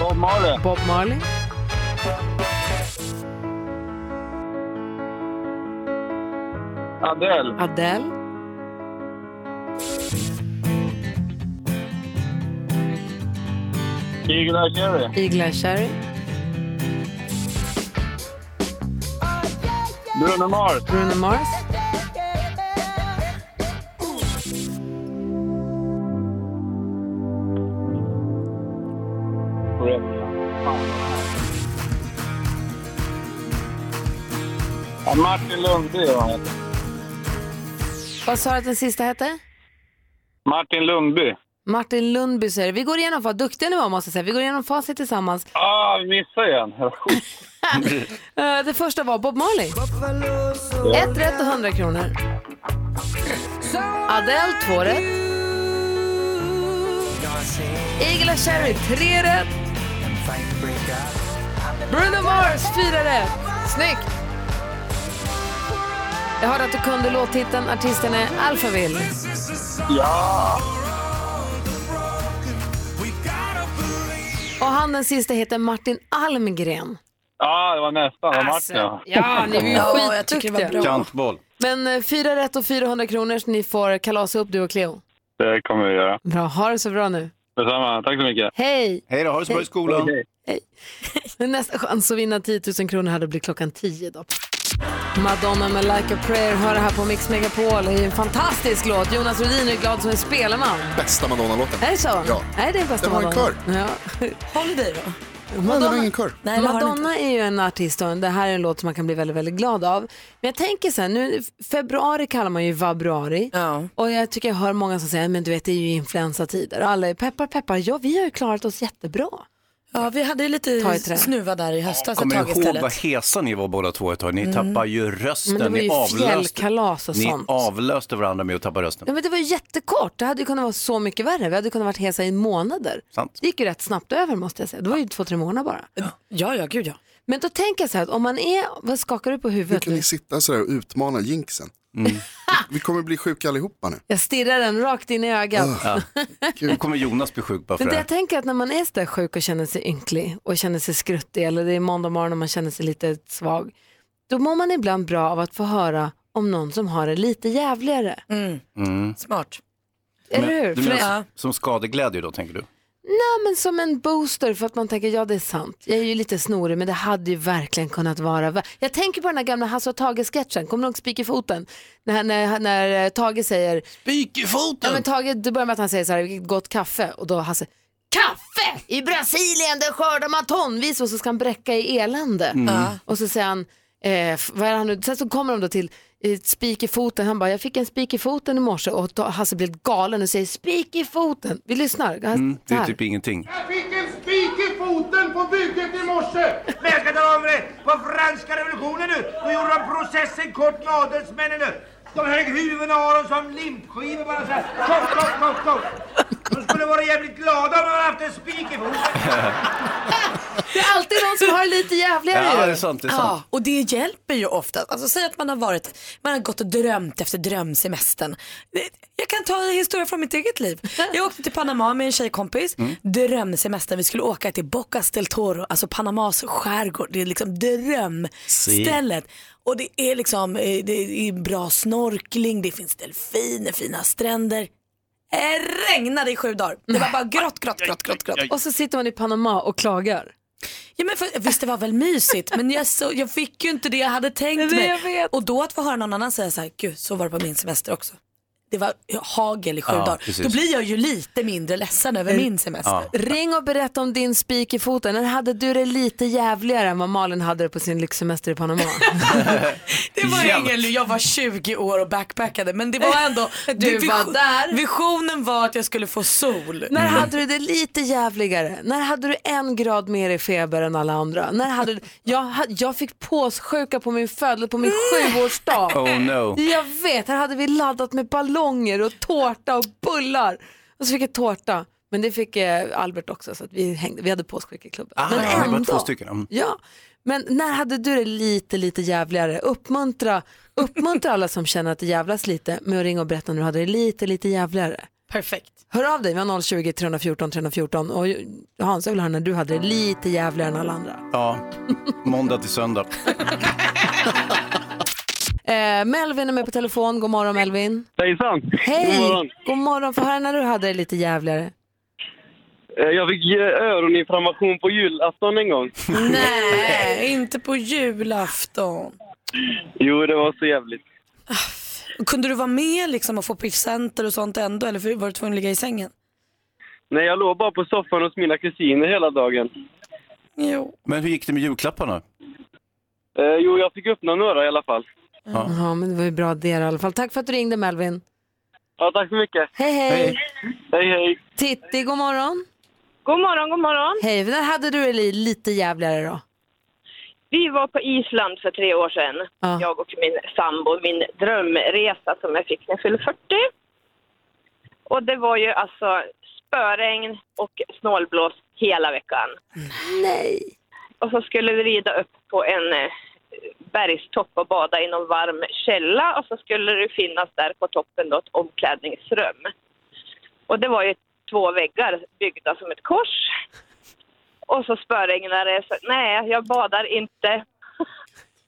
Speaker 8: Bob Marley,
Speaker 1: Bob Marley.
Speaker 8: Adele,
Speaker 1: Adele.
Speaker 8: Eagle Eye Cherry,
Speaker 1: Eagle-Eye Cherry.
Speaker 8: Bruno Mars,
Speaker 1: Bruno Mars.
Speaker 8: ja, Martin Lundby. vad han heter.
Speaker 1: Vad sa du att den sista hette?
Speaker 8: Martin Lundby.
Speaker 1: Martin Lundby säger det. Vi går igenom, vad duktiga ni var måste jag säga. Vi går igenom facit tillsammans.
Speaker 8: Ah, vi missade igen.
Speaker 1: Eh, det första var Bob Marley. Ett rätt och 100 kronor. Adele, två rätt. Eagle och Cherry, tre rätt. Bruno Mars, fyra rätt. Snyggt! Jag hörde att du kunde låttiteln. Artisten är Alphaville.
Speaker 8: Ja!
Speaker 1: Och han den sista heter Martin Almgren.
Speaker 8: Ja, det var nästan. Det var Martin. ja.
Speaker 1: Alltså, Ja, ni är ju
Speaker 6: Ja, jag tycker det var
Speaker 1: skitduktiga.
Speaker 6: bra.
Speaker 3: Kantboll.
Speaker 1: Men eh, fyra rätt och 400 kronor så ni får kalasa upp du och Cleo.
Speaker 8: Det kommer vi göra.
Speaker 1: Bra, ha det så bra nu.
Speaker 8: Detsamma. Tack så mycket.
Speaker 1: Hej!
Speaker 3: Hej då, ha det så bra i skolan.
Speaker 1: Men Nästa chans att vinna 10 000 kronor hade blivit klockan 10 då. Madonna med Like a prayer hör det här på Mix Megapol. Det är en fantastisk låt. Jonas Rhodin är glad som en spelman.
Speaker 10: Bästa Madonna-låten.
Speaker 1: Är det så?
Speaker 10: Ja.
Speaker 1: Är det bästa
Speaker 10: Den har en
Speaker 1: Madonna?
Speaker 10: kör.
Speaker 1: Ja.
Speaker 6: Holiday då?
Speaker 10: Nej, den har ingen kör.
Speaker 6: Nej, det har den
Speaker 1: Madonna är ju en artist och det här är en låt som man kan bli väldigt, väldigt glad av. Men jag tänker så här, nu, februari kallar man ju vabruari och jag tycker jag hör många som säger, men du vet det är ju influensatider och alla är peppar, peppar, ja vi har ju klarat oss jättebra.
Speaker 6: Ja, vi hade ju
Speaker 1: Ta i trä.
Speaker 6: lite snuva där i höstas ett
Speaker 3: Kommer
Speaker 6: tag
Speaker 3: ni ihåg
Speaker 6: istället.
Speaker 3: vad hesa ni var båda två ett tag? Ni
Speaker 6: Mm.
Speaker 3: tappade ju rösten.
Speaker 1: Men det var
Speaker 3: ni
Speaker 1: ju
Speaker 3: avlöste.
Speaker 1: fjällkalas och
Speaker 3: ni
Speaker 1: sånt.
Speaker 3: avlöste varandra med att tappa rösten.
Speaker 1: Ja, men det var ju jättekort, det hade ju kunnat vara så mycket värre, vi hade kunnat varit hesa i månader.
Speaker 3: Sant.
Speaker 1: Det gick ju rätt snabbt över måste jag säga, det var ju två, tre månader bara.
Speaker 6: Ja, ja, gud ja.
Speaker 1: Men då tänker jag så här, att om man är, vad skakar du på
Speaker 10: Hur
Speaker 1: huvudet
Speaker 10: kan
Speaker 1: nu?
Speaker 10: ni sitta sådär och utmana jinxen?
Speaker 3: Mm.
Speaker 10: Vi kommer bli sjuka allihopa nu.
Speaker 1: Jag stirrar den rakt in i ögat.
Speaker 3: Ja. Nu kommer Jonas bli sjuk bara för
Speaker 1: Men
Speaker 3: det
Speaker 1: det
Speaker 3: här.
Speaker 1: jag tänker är att när man är så där sjuk och känner sig ynklig och känner sig skruttig eller det är måndag morgon och man känner sig lite svag, då mår man ibland bra av att få höra om någon som har det lite jävligare.
Speaker 3: Mm.
Speaker 6: Smart.
Speaker 1: Eller
Speaker 3: Men-
Speaker 1: hur?
Speaker 3: Du
Speaker 1: För
Speaker 3: menar som-
Speaker 1: det-
Speaker 3: som skadeglädje då tänker du?
Speaker 1: Nej, men som en booster för att man tänker, ja det är sant. Jag är ju lite snorig, men det hade ju verkligen kunnat vara. vä- Jag tänker på den här gamla Hasse och Tage-sketchen, kommer du ihåg Spik i foten? När, när, när eh, Tage säger...
Speaker 3: Spik i foten!
Speaker 1: Ja, men Tage, det börjar med att han säger så här, "Vilket gott kaffe, och då Hasse, kaffe! I Brasilien där skördar man tonvis och så ska han bräcka i elände.
Speaker 13: Mm. Ja.
Speaker 1: Och så säger han, eh, f- vad är det han nu, sen så kommer de då till eh, spik i foten, han bara, jag fick en spik i foten i morse och då- Hasse blir galen och säger spik i foten. Vi lyssnar.
Speaker 3: Mm, det
Speaker 1: Så
Speaker 3: är
Speaker 1: här.
Speaker 3: typ ingenting.
Speaker 14: Jag fick en spik i foten på bygget i morse! Men jag ska tala om för dig, på franska revolutionen nu, då gjorde de processen kort med adelsmännen nu. De högg huvudena av dem som limpskivor bara såhär, kopp, kopp, kopp, kopp. De skulle vara jävligt glada om de hade haft en spik i foten.
Speaker 1: Det är alltid någon som har det lite jävligare
Speaker 3: Ja,
Speaker 1: ju.
Speaker 3: det är sant, det är sant.
Speaker 6: och det hjälper ju ofta. Alltså, säg att man har, varit, man har gått och drömt efter drömsemestern. Det- Jag kan ta en historia från mitt eget liv. Jag åkte till Panama med en tjejkompis.
Speaker 3: Mm.
Speaker 6: Drömsemestern, vi skulle åka till Bocas del Toro, alltså Panamas skärgård. Det är liksom drömstället. Och det är liksom eh, det är bra snorkling, det finns delfiner, fina stränder. Det regnade i sju dagar. Det var bara grått, grått, grått, grått. grått.
Speaker 1: Och så sitter man i Panama och klagar.
Speaker 6: Ja, men för, visst det var väl mysigt men jag, så, jag fick ju inte det jag hade tänkt
Speaker 1: Nej,
Speaker 6: mig.
Speaker 1: jag
Speaker 6: Och då att få höra någon annan säga så här, gud så var det på min semester också. Det var hagel i sju
Speaker 1: Ja,
Speaker 6: dagar.
Speaker 1: precis.
Speaker 6: Då blir jag ju lite mindre ledsen
Speaker 3: Eh,
Speaker 6: över min semester.
Speaker 1: Ring och berätta om din spik i foten. När hade du det lite jävligare än vad Malin hade det på sin lyxsemester i Panama?
Speaker 6: Det var ingen, jag var 20 år och backpackade men det Eh, var ändå,
Speaker 1: Du
Speaker 6: det
Speaker 1: var där.
Speaker 6: visionen var att jag skulle få sol.
Speaker 1: När hade du det lite jävligare? När hade du en grad mer i feber än alla andra? När hade du... jag, ha- jag fick påssjuka på min födel på min sjuårsdag.
Speaker 3: Oh no.
Speaker 1: Jag vet, här hade vi laddat med ballonger och tårta och bullar. Och så fick jag tårta. Men det fick eh, Albert också så att vi, hängde, vi hade påssjuka i klubben.
Speaker 3: Ah,
Speaker 1: men
Speaker 3: ja, ni var två stycken. Mm.
Speaker 1: Ja, men när hade du det lite, lite jävligare? Uppmuntra, uppmuntra alla som känner att det jävlas lite med att ringa och berätta när du hade det lite, lite jävligare.
Speaker 6: Perfekt.
Speaker 1: Hör av dig, vi har 020 314 314 och Hans, jag vill höra när du hade det lite jävligare än alla andra.
Speaker 3: Ja, måndag till söndag.
Speaker 1: Eh, Melvin är med på telefon, god morgon Melvin.
Speaker 15: Hejsan!
Speaker 1: Hej!
Speaker 15: God morgon.
Speaker 1: God morgon, få höra när du hade det lite jävligare.
Speaker 15: Eh, Jag fick ge öroninflammation på julafton en gång.
Speaker 6: Nej, inte på julafton.
Speaker 15: Jo, det var så jävligt.
Speaker 6: Kunde du vara med liksom och få presenter och sånt ändå eller var du tvungen att ligga i sängen?
Speaker 15: Nej, jag låg bara på soffan hos mina kusiner hela dagen.
Speaker 6: Jo.
Speaker 3: Men hur gick det med julklapparna?
Speaker 15: Eh, jo, jag fick öppna några i alla fall.
Speaker 1: Ja. men det var ju bra det i alla fall. Tack för att du ringde Melvin.
Speaker 15: Ja, tack så mycket.
Speaker 1: Hej, hej. Hej.
Speaker 15: Hej, hej.
Speaker 1: Titti, god morgon.
Speaker 8: God morgon, god morgon.
Speaker 1: Hej, när hade du det li- lite jävligare då?
Speaker 8: Vi var på Island för tre år sedan.
Speaker 1: Ja.
Speaker 8: Jag och min sambo, min drömresa som jag fick när jag fyllde 40. Och det var ju alltså spöregn och snålblåst hela veckan.
Speaker 1: Nej!
Speaker 8: Och så skulle vi rida upp på en eh, bergstopp och bada i någon varm källa och så skulle det finnas där på toppen då ett omklädningsrum. Och det var ju två väggar byggda som ett kors. Och så spöregnade det. Så, nej, jag badar inte.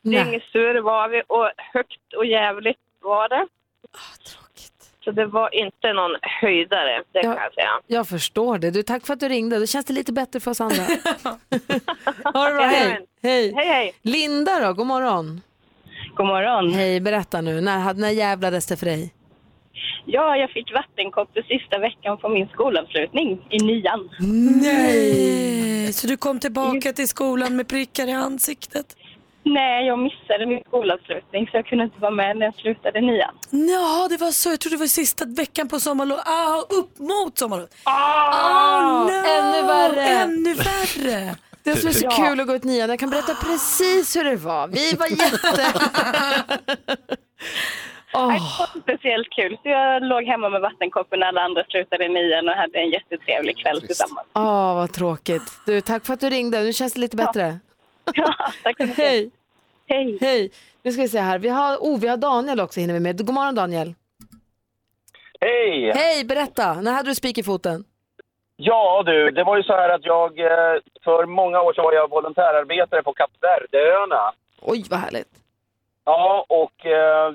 Speaker 8: Dyngsur var vi och högt och jävligt var det. Så det var inte någon höjdare, det kan jag säga.
Speaker 1: Jag förstår det. Du, tack för att du ringde. Då känns det lite bättre för oss andra. ha det bra, hej. hej.
Speaker 8: Hej, hej.
Speaker 1: Linda då, god morgon.
Speaker 16: God morgon.
Speaker 1: Hej, berätta nu. När, hade- när jävlades det för dig?
Speaker 16: Ja, jag fick vattenkoppor sista veckan på min skolavslutning i nian.
Speaker 6: Nej! Så du kom tillbaka till skolan med prickar i ansiktet?
Speaker 16: Nej, jag missade min skolavslutning så jag kunde inte vara med när jag slutade nian.
Speaker 6: Ja, det var så. Jag trodde det var sista veckan på sommarlov. Ah, upp mot sommarlov.
Speaker 1: Ah,
Speaker 6: no!
Speaker 1: ännu värre.
Speaker 6: Ännu värre.
Speaker 1: Det som är så kul att gå ut nian, jag kan berätta precis hur det var. Vi var jätte...
Speaker 16: Nej, Det var inte speciellt kul så jag låg hemma med vattenkoppen när alla andra slutade i nian och hade en jättetrevlig kväll tillsammans.
Speaker 1: Åh, Ah, vad tråkigt. Du, tack för att du ringde. Nu känns det lite bättre. Hej.
Speaker 16: Hej.
Speaker 1: Hej. Nu ska vi se här. Vi har, oh, vi har Daniel också, hinner vi med. God morgon Daniel.
Speaker 15: Hej!
Speaker 1: Hej, berätta. När hade du spik i foten?
Speaker 15: Ja du, det var ju så här att jag eh, för många år sedan var jag volontärarbetare på Kap Verdeöarna.
Speaker 1: Oj, vad härligt.
Speaker 15: Ja, och eh,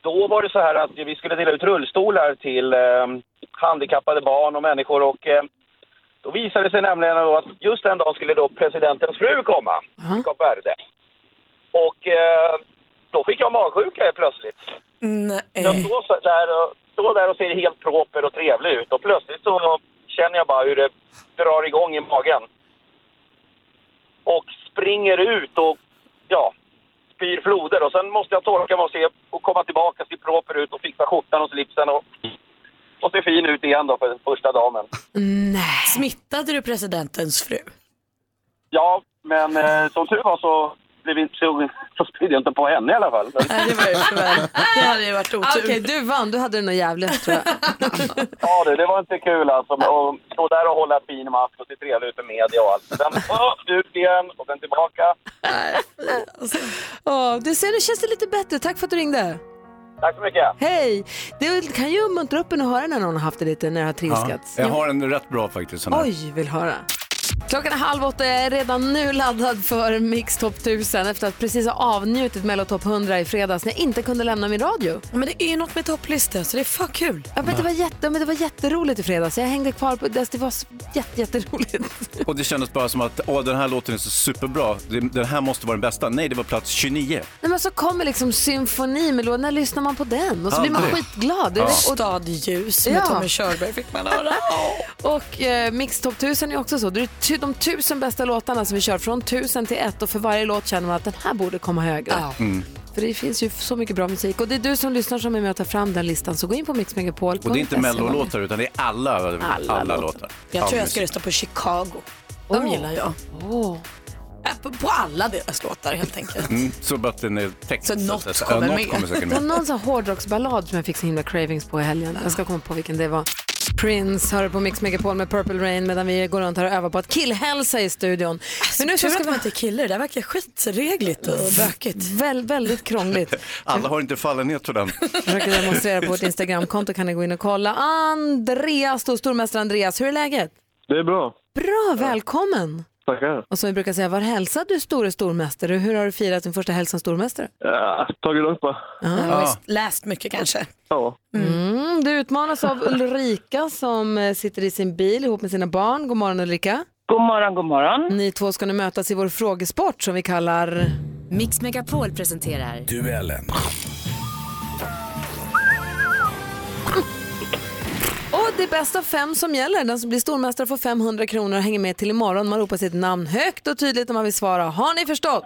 Speaker 15: då var det så här att vi skulle dela ut rullstolar till eh, handikappade barn och människor och eh, då visade det sig nämligen då att just den dagen skulle då presidentens fru komma till Kap Verde. Och eh, då fick jag magsjuka helt plötsligt.
Speaker 6: Nej.
Speaker 15: Jag står, så där och, står där och ser helt proper och trevlig ut och plötsligt så känner jag bara hur det drar igång i magen. Och springer ut och ja, spyr floder och sen måste jag torka mig och, se, och komma tillbaka, se proper ut och fixa skjortan och slipsen och, och se fin ut igen då för första damen.
Speaker 1: Nej.
Speaker 6: Smittade du presidentens fru?
Speaker 15: Ja, men eh, som tur var så blev inte så, så spydde jag inte på henne i alla fall.
Speaker 6: det var ju Det hade ju varit otur.
Speaker 1: Ah, Okej, du vann. Du hade det nog jävligt tror jag.
Speaker 15: Ja du, det var inte kul alltså. Och stå där och hålla fin mask och se trevlig ut i media och allt. Sen upp, ut igen och sen tillbaka.
Speaker 1: Åh, du ser, nu känns det lite bättre. Tack för att du ringde.
Speaker 15: Tack så mycket.
Speaker 1: Hej! Det kan ju muntra upp en att höra när någon har haft det lite, när det har trilskats.
Speaker 3: jag har en rätt bra faktiskt. Sån här.
Speaker 1: Oj, vill höra. Klockan är halv åtta, jag är redan nu laddad för Mix Top 1000 efter att precis ha avnjutit Mello Top 100 i fredags när jag inte kunde lämna min radio.
Speaker 6: Men det är ju något med topplistor så det är för kul.
Speaker 1: Ja, men det, var jätte, men det var jätteroligt i fredags, jag hängde kvar på alltså, det, det var så jätte, jätteroligt.
Speaker 3: Och det kändes bara som att åh, den här låten är så superbra, Det- den här måste vara den bästa. Nej, det var plats 29.
Speaker 1: Nej, men så kommer liksom symfoni med låt, när lyssnar man på den? Och så blir man
Speaker 3: Aldrig.
Speaker 1: skitglad. Det är-
Speaker 3: Ja.
Speaker 1: och-
Speaker 6: Stadljus med
Speaker 1: Ja.
Speaker 6: Tommy Körberg fick man höra.
Speaker 1: Och eh, Mix Top 1000 är också så. Det är tu- de tusen bästa låtarna som vi kör från tusen till ett och för varje låt känner man att den här borde komma högre. För det finns ju så mycket bra musik och det är du som lyssnar som är med och tar fram den listan så gå in på Mix Megapol.
Speaker 3: Och det är inte mellolåtar utan det är alla, alla, låtar.
Speaker 6: Jag tror jag ska
Speaker 3: skulle...
Speaker 6: rösta på Chicago. De gillar jag. Äh, På, på alla deras låtar helt enkelt.
Speaker 3: mm, Så bara att den är text.
Speaker 6: Så något
Speaker 3: att säga.
Speaker 6: kommer
Speaker 3: ja, något
Speaker 6: med.
Speaker 3: Kommer säkert
Speaker 1: Det var
Speaker 3: med.
Speaker 1: någon sån här hårdrocksballad som jag fick så himla cravings på i helgen. Jag ska komma på vilken det var. Prince hör på Mix Megapol med Purple Rain medan vi går runt här och övar på att killhälsa i studion. Men nu
Speaker 6: Tur Alltså, att man inte är kille, det där verkar skitregligt och bökigt.
Speaker 1: Väl, väldigt krångligt.
Speaker 3: Alla har inte fallenhet för den.
Speaker 1: försöker demonstrera på vårt Instagramkonto kan ni gå in och kolla. Andreas, då, stormästare Andreas, hur är läget?
Speaker 17: Det är bra.
Speaker 1: Bra, välkommen!
Speaker 17: Tackar.
Speaker 1: Och som vi brukar säga, var hälsar du store stormästare? Hur har du firat din första hälsan stormästare?
Speaker 17: Ja, tagit upp va?
Speaker 6: Ja. Läst mycket kanske.
Speaker 17: Ja.
Speaker 1: Mm, du utmanas av Ulrika som eh, sitter i sin bil ihop med sina barn. God morgon Ulrika!
Speaker 16: God morgon, god morgon!
Speaker 1: Ni två ska nu mötas i vår frågesport som vi kallar...
Speaker 11: Mix Megapol presenterar
Speaker 18: Duellen.
Speaker 1: Och det är bäst av fem som gäller. Den som blir stormästare får 500 kronor och hänger med till imorgon. Man ropar sitt namn högt och tydligt om man vill svara. Har ni förstått?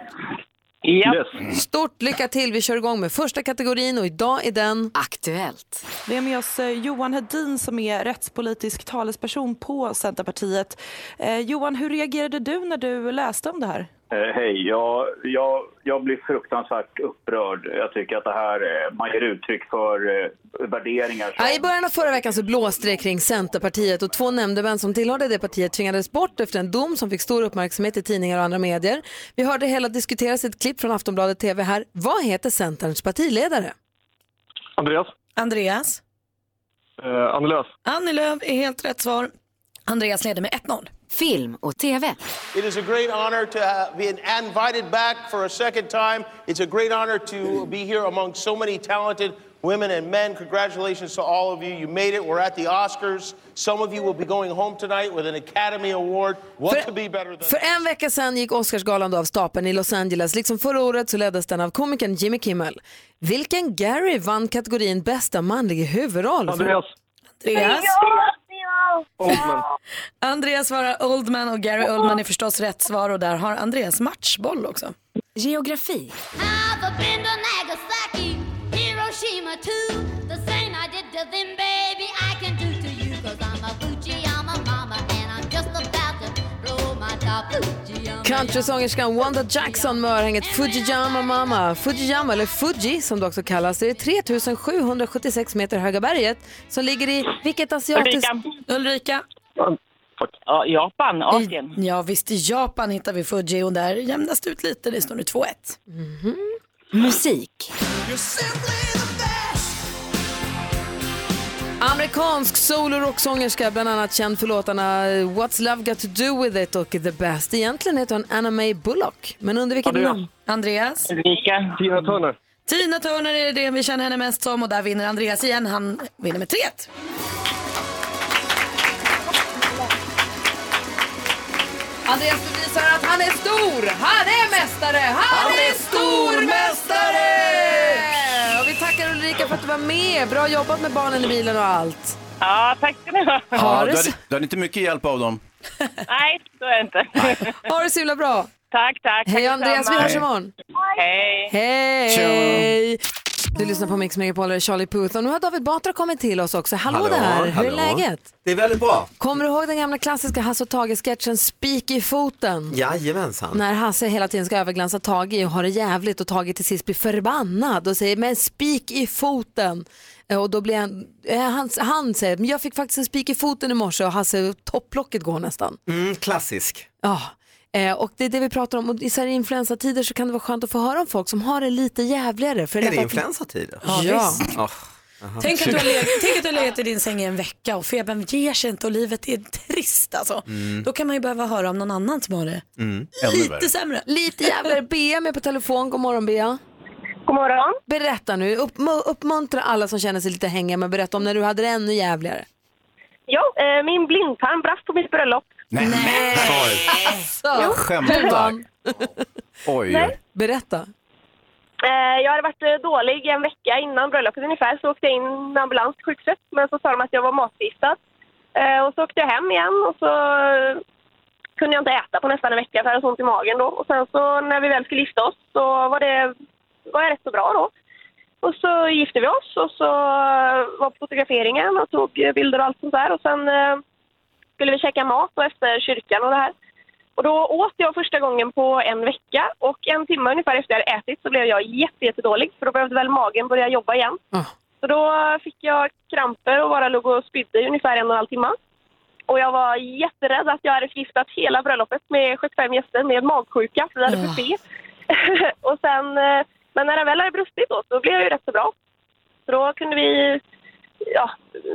Speaker 17: Yes.
Speaker 1: Stort lycka till! Vi kör igång med första kategorin och idag är den...
Speaker 11: Aktuellt.
Speaker 19: Vi har med oss eh, Johan Hedin som är rättspolitisk talesperson på Centerpartiet. Eh, Johan, hur reagerade du när du läste om det här?
Speaker 20: Eh, Hej, jag, jag, jag blir fruktansvärt upprörd. Jag tycker att det här, eh, man ger uttryck för eh, värderingar som...
Speaker 1: Ja, I början av förra veckan så blåste det kring Centerpartiet och två nämndemän som tillhörde det partiet tvingades bort efter en dom som fick stor uppmärksamhet i tidningar och andra medier. Vi hörde hela diskuteras i ett klipp från Aftonbladet TV här. Vad heter Centerns partiledare?
Speaker 17: Andreas?
Speaker 6: Andreas?
Speaker 17: Eh, Annie Lööf?
Speaker 6: Annie Lööf är helt rätt svar. Andreas leder med 1-0.
Speaker 11: Film och TV.
Speaker 21: It is a great honor to uh, be invited back for a second time. It's a great honor to be here among so many talented women and men. Congratulations to all of you. You made it. We're at the Oscars. Some of you will be going home tonight with an Academy Award. What could be better than
Speaker 1: För en vecka sedan gick Oscarsgalan då av stapeln i Los Angeles. Liksom förra året så leddes den av komikern Jimmy Kimmel. Vilken Gary vann kategorin bästa manlig huvudroll?
Speaker 5: Andreas. Andreas.
Speaker 1: Oldman.
Speaker 6: Andreas svarar Oldman och Gary Oldman är förstås rätt svar och där har Andreas matchboll också.
Speaker 11: Geografi.
Speaker 18: I've been to Nagasaki, Hiroshima too. The same I did to them, baby, I can do to you. Cause I'm a Gucci, I'm a mama, and I'm just about to blow my top.
Speaker 1: Countrysångerskan Wanda Jackson med örhänget Fujiyama Mama. Fujiyama, eller Fuji som det också kallas, det är 3776 meter höga berget som ligger i vilket asiatiskt...
Speaker 6: Ulrika. Ulrika.
Speaker 16: Ja, Japan, Asien.
Speaker 6: Ja visst, i Japan hittar vi Fuji och där jämnas det ut lite. Det står nu 2-1.
Speaker 11: Musik.
Speaker 1: Amerikansk soul och rocksångerska, bland annat känd för låtarna What's Love Got To Do With It och The Best. Egentligen heter hon Anna May Bullock, men under vilket
Speaker 6: Andreas.
Speaker 1: namn?
Speaker 6: Andreas.
Speaker 16: Ulrika.
Speaker 17: Tina Turner.
Speaker 6: Tina Turner är det vi känner henne mest som och där vinner Andreas igen. Han vinner med 3-1.
Speaker 1: Andreas bevisar att han är stor, han är mästare, han,
Speaker 18: Han
Speaker 1: är
Speaker 18: är
Speaker 1: stormästare! Och vi tackar Ulrika för att du var med. Bra jobbat med barnen i bilen och allt.
Speaker 16: Ja, tack ska ni ha.
Speaker 1: Ha
Speaker 3: du,
Speaker 1: det
Speaker 3: hade,
Speaker 1: så,
Speaker 3: du hade inte mycket hjälp av dem.
Speaker 16: Nej, så är det inte.
Speaker 1: ha det så himla bra.
Speaker 16: Tack, tack.
Speaker 1: Hej
Speaker 16: Tack
Speaker 1: Andreas, vi
Speaker 16: detsamma.
Speaker 1: hörs imorgon.
Speaker 16: Hej.
Speaker 1: Hej! Du lyssnar på Mix Megapol, det är Charlie Puth och nu har David Batra kommit till oss också. Hallå, där, hur är läget?
Speaker 22: Det är väldigt bra.
Speaker 1: Kommer du ihåg den gamla klassiska Hasse och Tage-sketchen Spik i foten?
Speaker 22: Jajamensan.
Speaker 1: När Hasse hela tiden ska överglänsa Tage och har det jävligt och Tage till sist blir förbannad och säger men spik i foten. Eh, Och då blir han, eh, han, han säger men jag fick faktiskt en spik i foten i morse och Hasse topplocket går nästan.
Speaker 22: Mm, klassisk.
Speaker 1: Ja, eh, och det är det vi pratar om. Och I så här influensatider så kan det vara skönt att få höra om folk som har det lite jävligare. För
Speaker 22: Är det
Speaker 1: därför-
Speaker 22: influensatider?
Speaker 1: Ja, ja.
Speaker 22: Åh, jaha.
Speaker 6: Tänk att, du har legat, tänk att du har legat i din säng i en vecka och febern ger sig inte och livet är trist alltså.
Speaker 22: Mm.
Speaker 6: Då kan man ju behöva höra om någon annan som har det
Speaker 22: Mm.
Speaker 6: lite sämre.
Speaker 1: Lite jävligare. Bea är med på telefon. God morgon Bea.
Speaker 16: God morgon.
Speaker 1: Berätta nu. Upp, uppmuntra alla som känner sig lite hängiga men berätta om när du hade det ännu jävligare.
Speaker 16: Ja, eh, min blindtarm brast på mitt bröllop.
Speaker 6: Alltså.
Speaker 1: Jo.
Speaker 16: Skämtar.
Speaker 1: Du vann.
Speaker 3: Oj.
Speaker 1: Berätta.
Speaker 16: Eh, jag hade varit eh, dålig en vecka innan bröllopet ungefär, så åkte jag in med ambulans till sjukhuset. Men så sa de att jag var matförgiftad. Eh, och så åkte jag hem igen och så eh, kunde jag inte äta på nästan en vecka för jag hade så ont i magen då. Och sen så när vi väl skulle gifta oss så var, det, var jag rätt så bra då. Och så gifte vi oss och så eh, var på fotograferingen och tog eh, bilder och allt sånt där. Och sen eh, skulle vi käka mat och efter kyrkan och det här. Och då åt jag första gången på en vecka och en timme ungefär efter jag hade ätit så blev jag jätte, jättedålig för då behövde väl magen börja jobba igen. Så då fick jag kramper och bara låg och spydde i ungefär en och en halv timme. Och jag var jätterädd att jag hade förgiftat hela bröllopet med 75 gäster med magsjuka för vi
Speaker 4: Ah.
Speaker 16: hade buffé. och sen, eh, men när det väl hade brustit då så blev jag ju rätt så bra. Så då kunde vi ja,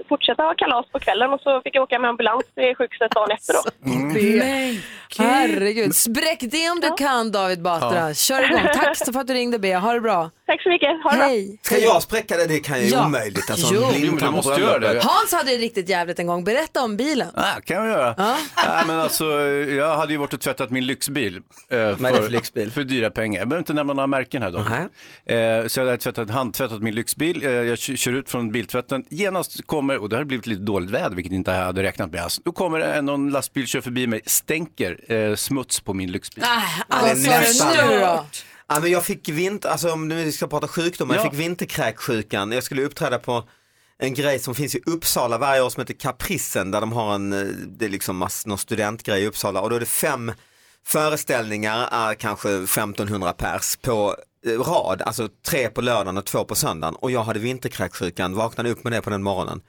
Speaker 16: fortsätta ha kalas på kvällen och så fick jag åka med ambulans till sjukhuset dagen efter då.
Speaker 1: Mm.
Speaker 4: Mm.
Speaker 1: Be- Herregud. Spräck det om du kan David Batra.
Speaker 22: Ja.
Speaker 1: Kör igång. Tack så för att du ringde Bea. Ha det bra.
Speaker 16: Tack så mycket. Ha det
Speaker 1: Hej.
Speaker 22: Ska jag spräcka det? Det kan ju
Speaker 1: Ja.
Speaker 22: omöjligt. Alltså,
Speaker 3: Jo.
Speaker 22: en
Speaker 3: Jo, men du
Speaker 22: blindtarm
Speaker 3: måste
Speaker 22: på
Speaker 3: göra det.
Speaker 22: bröllopet.
Speaker 1: Hans hade det riktigt jävligt en gång. Berätta om bilen.
Speaker 3: Ah, kan jag göra. Nej, men alltså, jag hade ju varit och tvättat min lyxbil. eh,
Speaker 22: är det för
Speaker 3: för dyra pengar. Jag behöver inte nämna några märken här dock. Eh, så jag hade tvättat, handtvättat min lyxbil. Eh, jag kö- kör ut från biltvätten. Genast kommer, och det hade blivit lite dåligt väder, vilket jag inte hade räknat med alls. Då kommer en någon lastbil, kör förbi mig, stänker eh, smuts på min lyxbil.
Speaker 18: Ah,
Speaker 22: Ja, det är nästan.
Speaker 1: nu då?
Speaker 22: Ja, men jag fick vinter, alltså om nu ska prata sjukdomar, jag
Speaker 3: Ja.
Speaker 22: fick vinterkräksjukan. Jag skulle uppträda på en grej som finns i Uppsala varje år som heter Caprissen där de har en, eh, det är liksom mass, någon studentgrej i Uppsala och då är det fem föreställningar, är kanske 1500 pers på eh, rad, alltså tre på lördagen och två på söndagen och jag hade vinterkräksjukan, vaknade upp med det på den morgonen.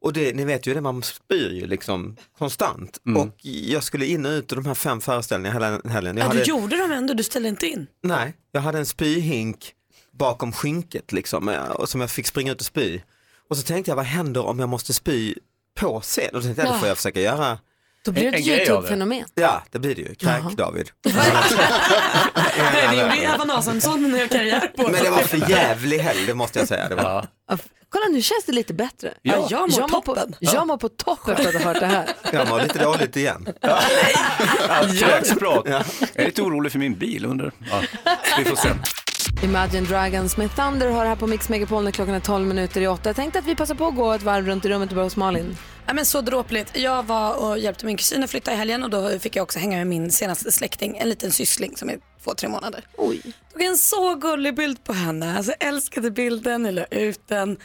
Speaker 22: Och det, ni vet ju det, man spyr ju liksom konstant.
Speaker 6: Mm.
Speaker 22: Och jag skulle in och ut ur de här fem föreställningarna hela helgen. Jag
Speaker 6: Ja, du
Speaker 22: hade-
Speaker 6: gjorde dem ändå, du ställde inte in.
Speaker 22: Nej, jag hade en spyhink bakom skynket liksom, eh, och som jag fick springa ut och spy. Och så tänkte jag, vad händer om jag måste spy på scen? Och då tänkte jag, det får jag försöka göra
Speaker 1: Då blir det ett YouTube-fenomen.
Speaker 22: Ja, det blir det ju. Kräk David.
Speaker 6: Det gjorde Evan Asensson när jag karriär på.
Speaker 22: Men det var för jävlig helg, det måste jag säga. Det var.
Speaker 1: Kolla nu känns det lite bättre.
Speaker 22: Ja.
Speaker 1: jag, mår På, jag mår på topp efter att ha hört det här.
Speaker 22: Jag mår lite dåligt igen.
Speaker 3: Kräkspråk. Jag är lite orolig för min bil. Under. Ja, vi får se.
Speaker 1: Imagine Dragons med Thunder har här på Mix Megapol när klockan är 12 minuter i 8. Jag tänkte att vi passar på att gå ett varv runt i rummet och börja hos Malin.
Speaker 6: Ja, men så dråpligt. Jag var och hjälpte min kusin att flytta i helgen och då fick jag också hänga med min senaste släkting, en liten syssling som är två, tre månader. Oj. Tog en så gullig bild på henne. Alltså, jag älskade bilden, jag la ut den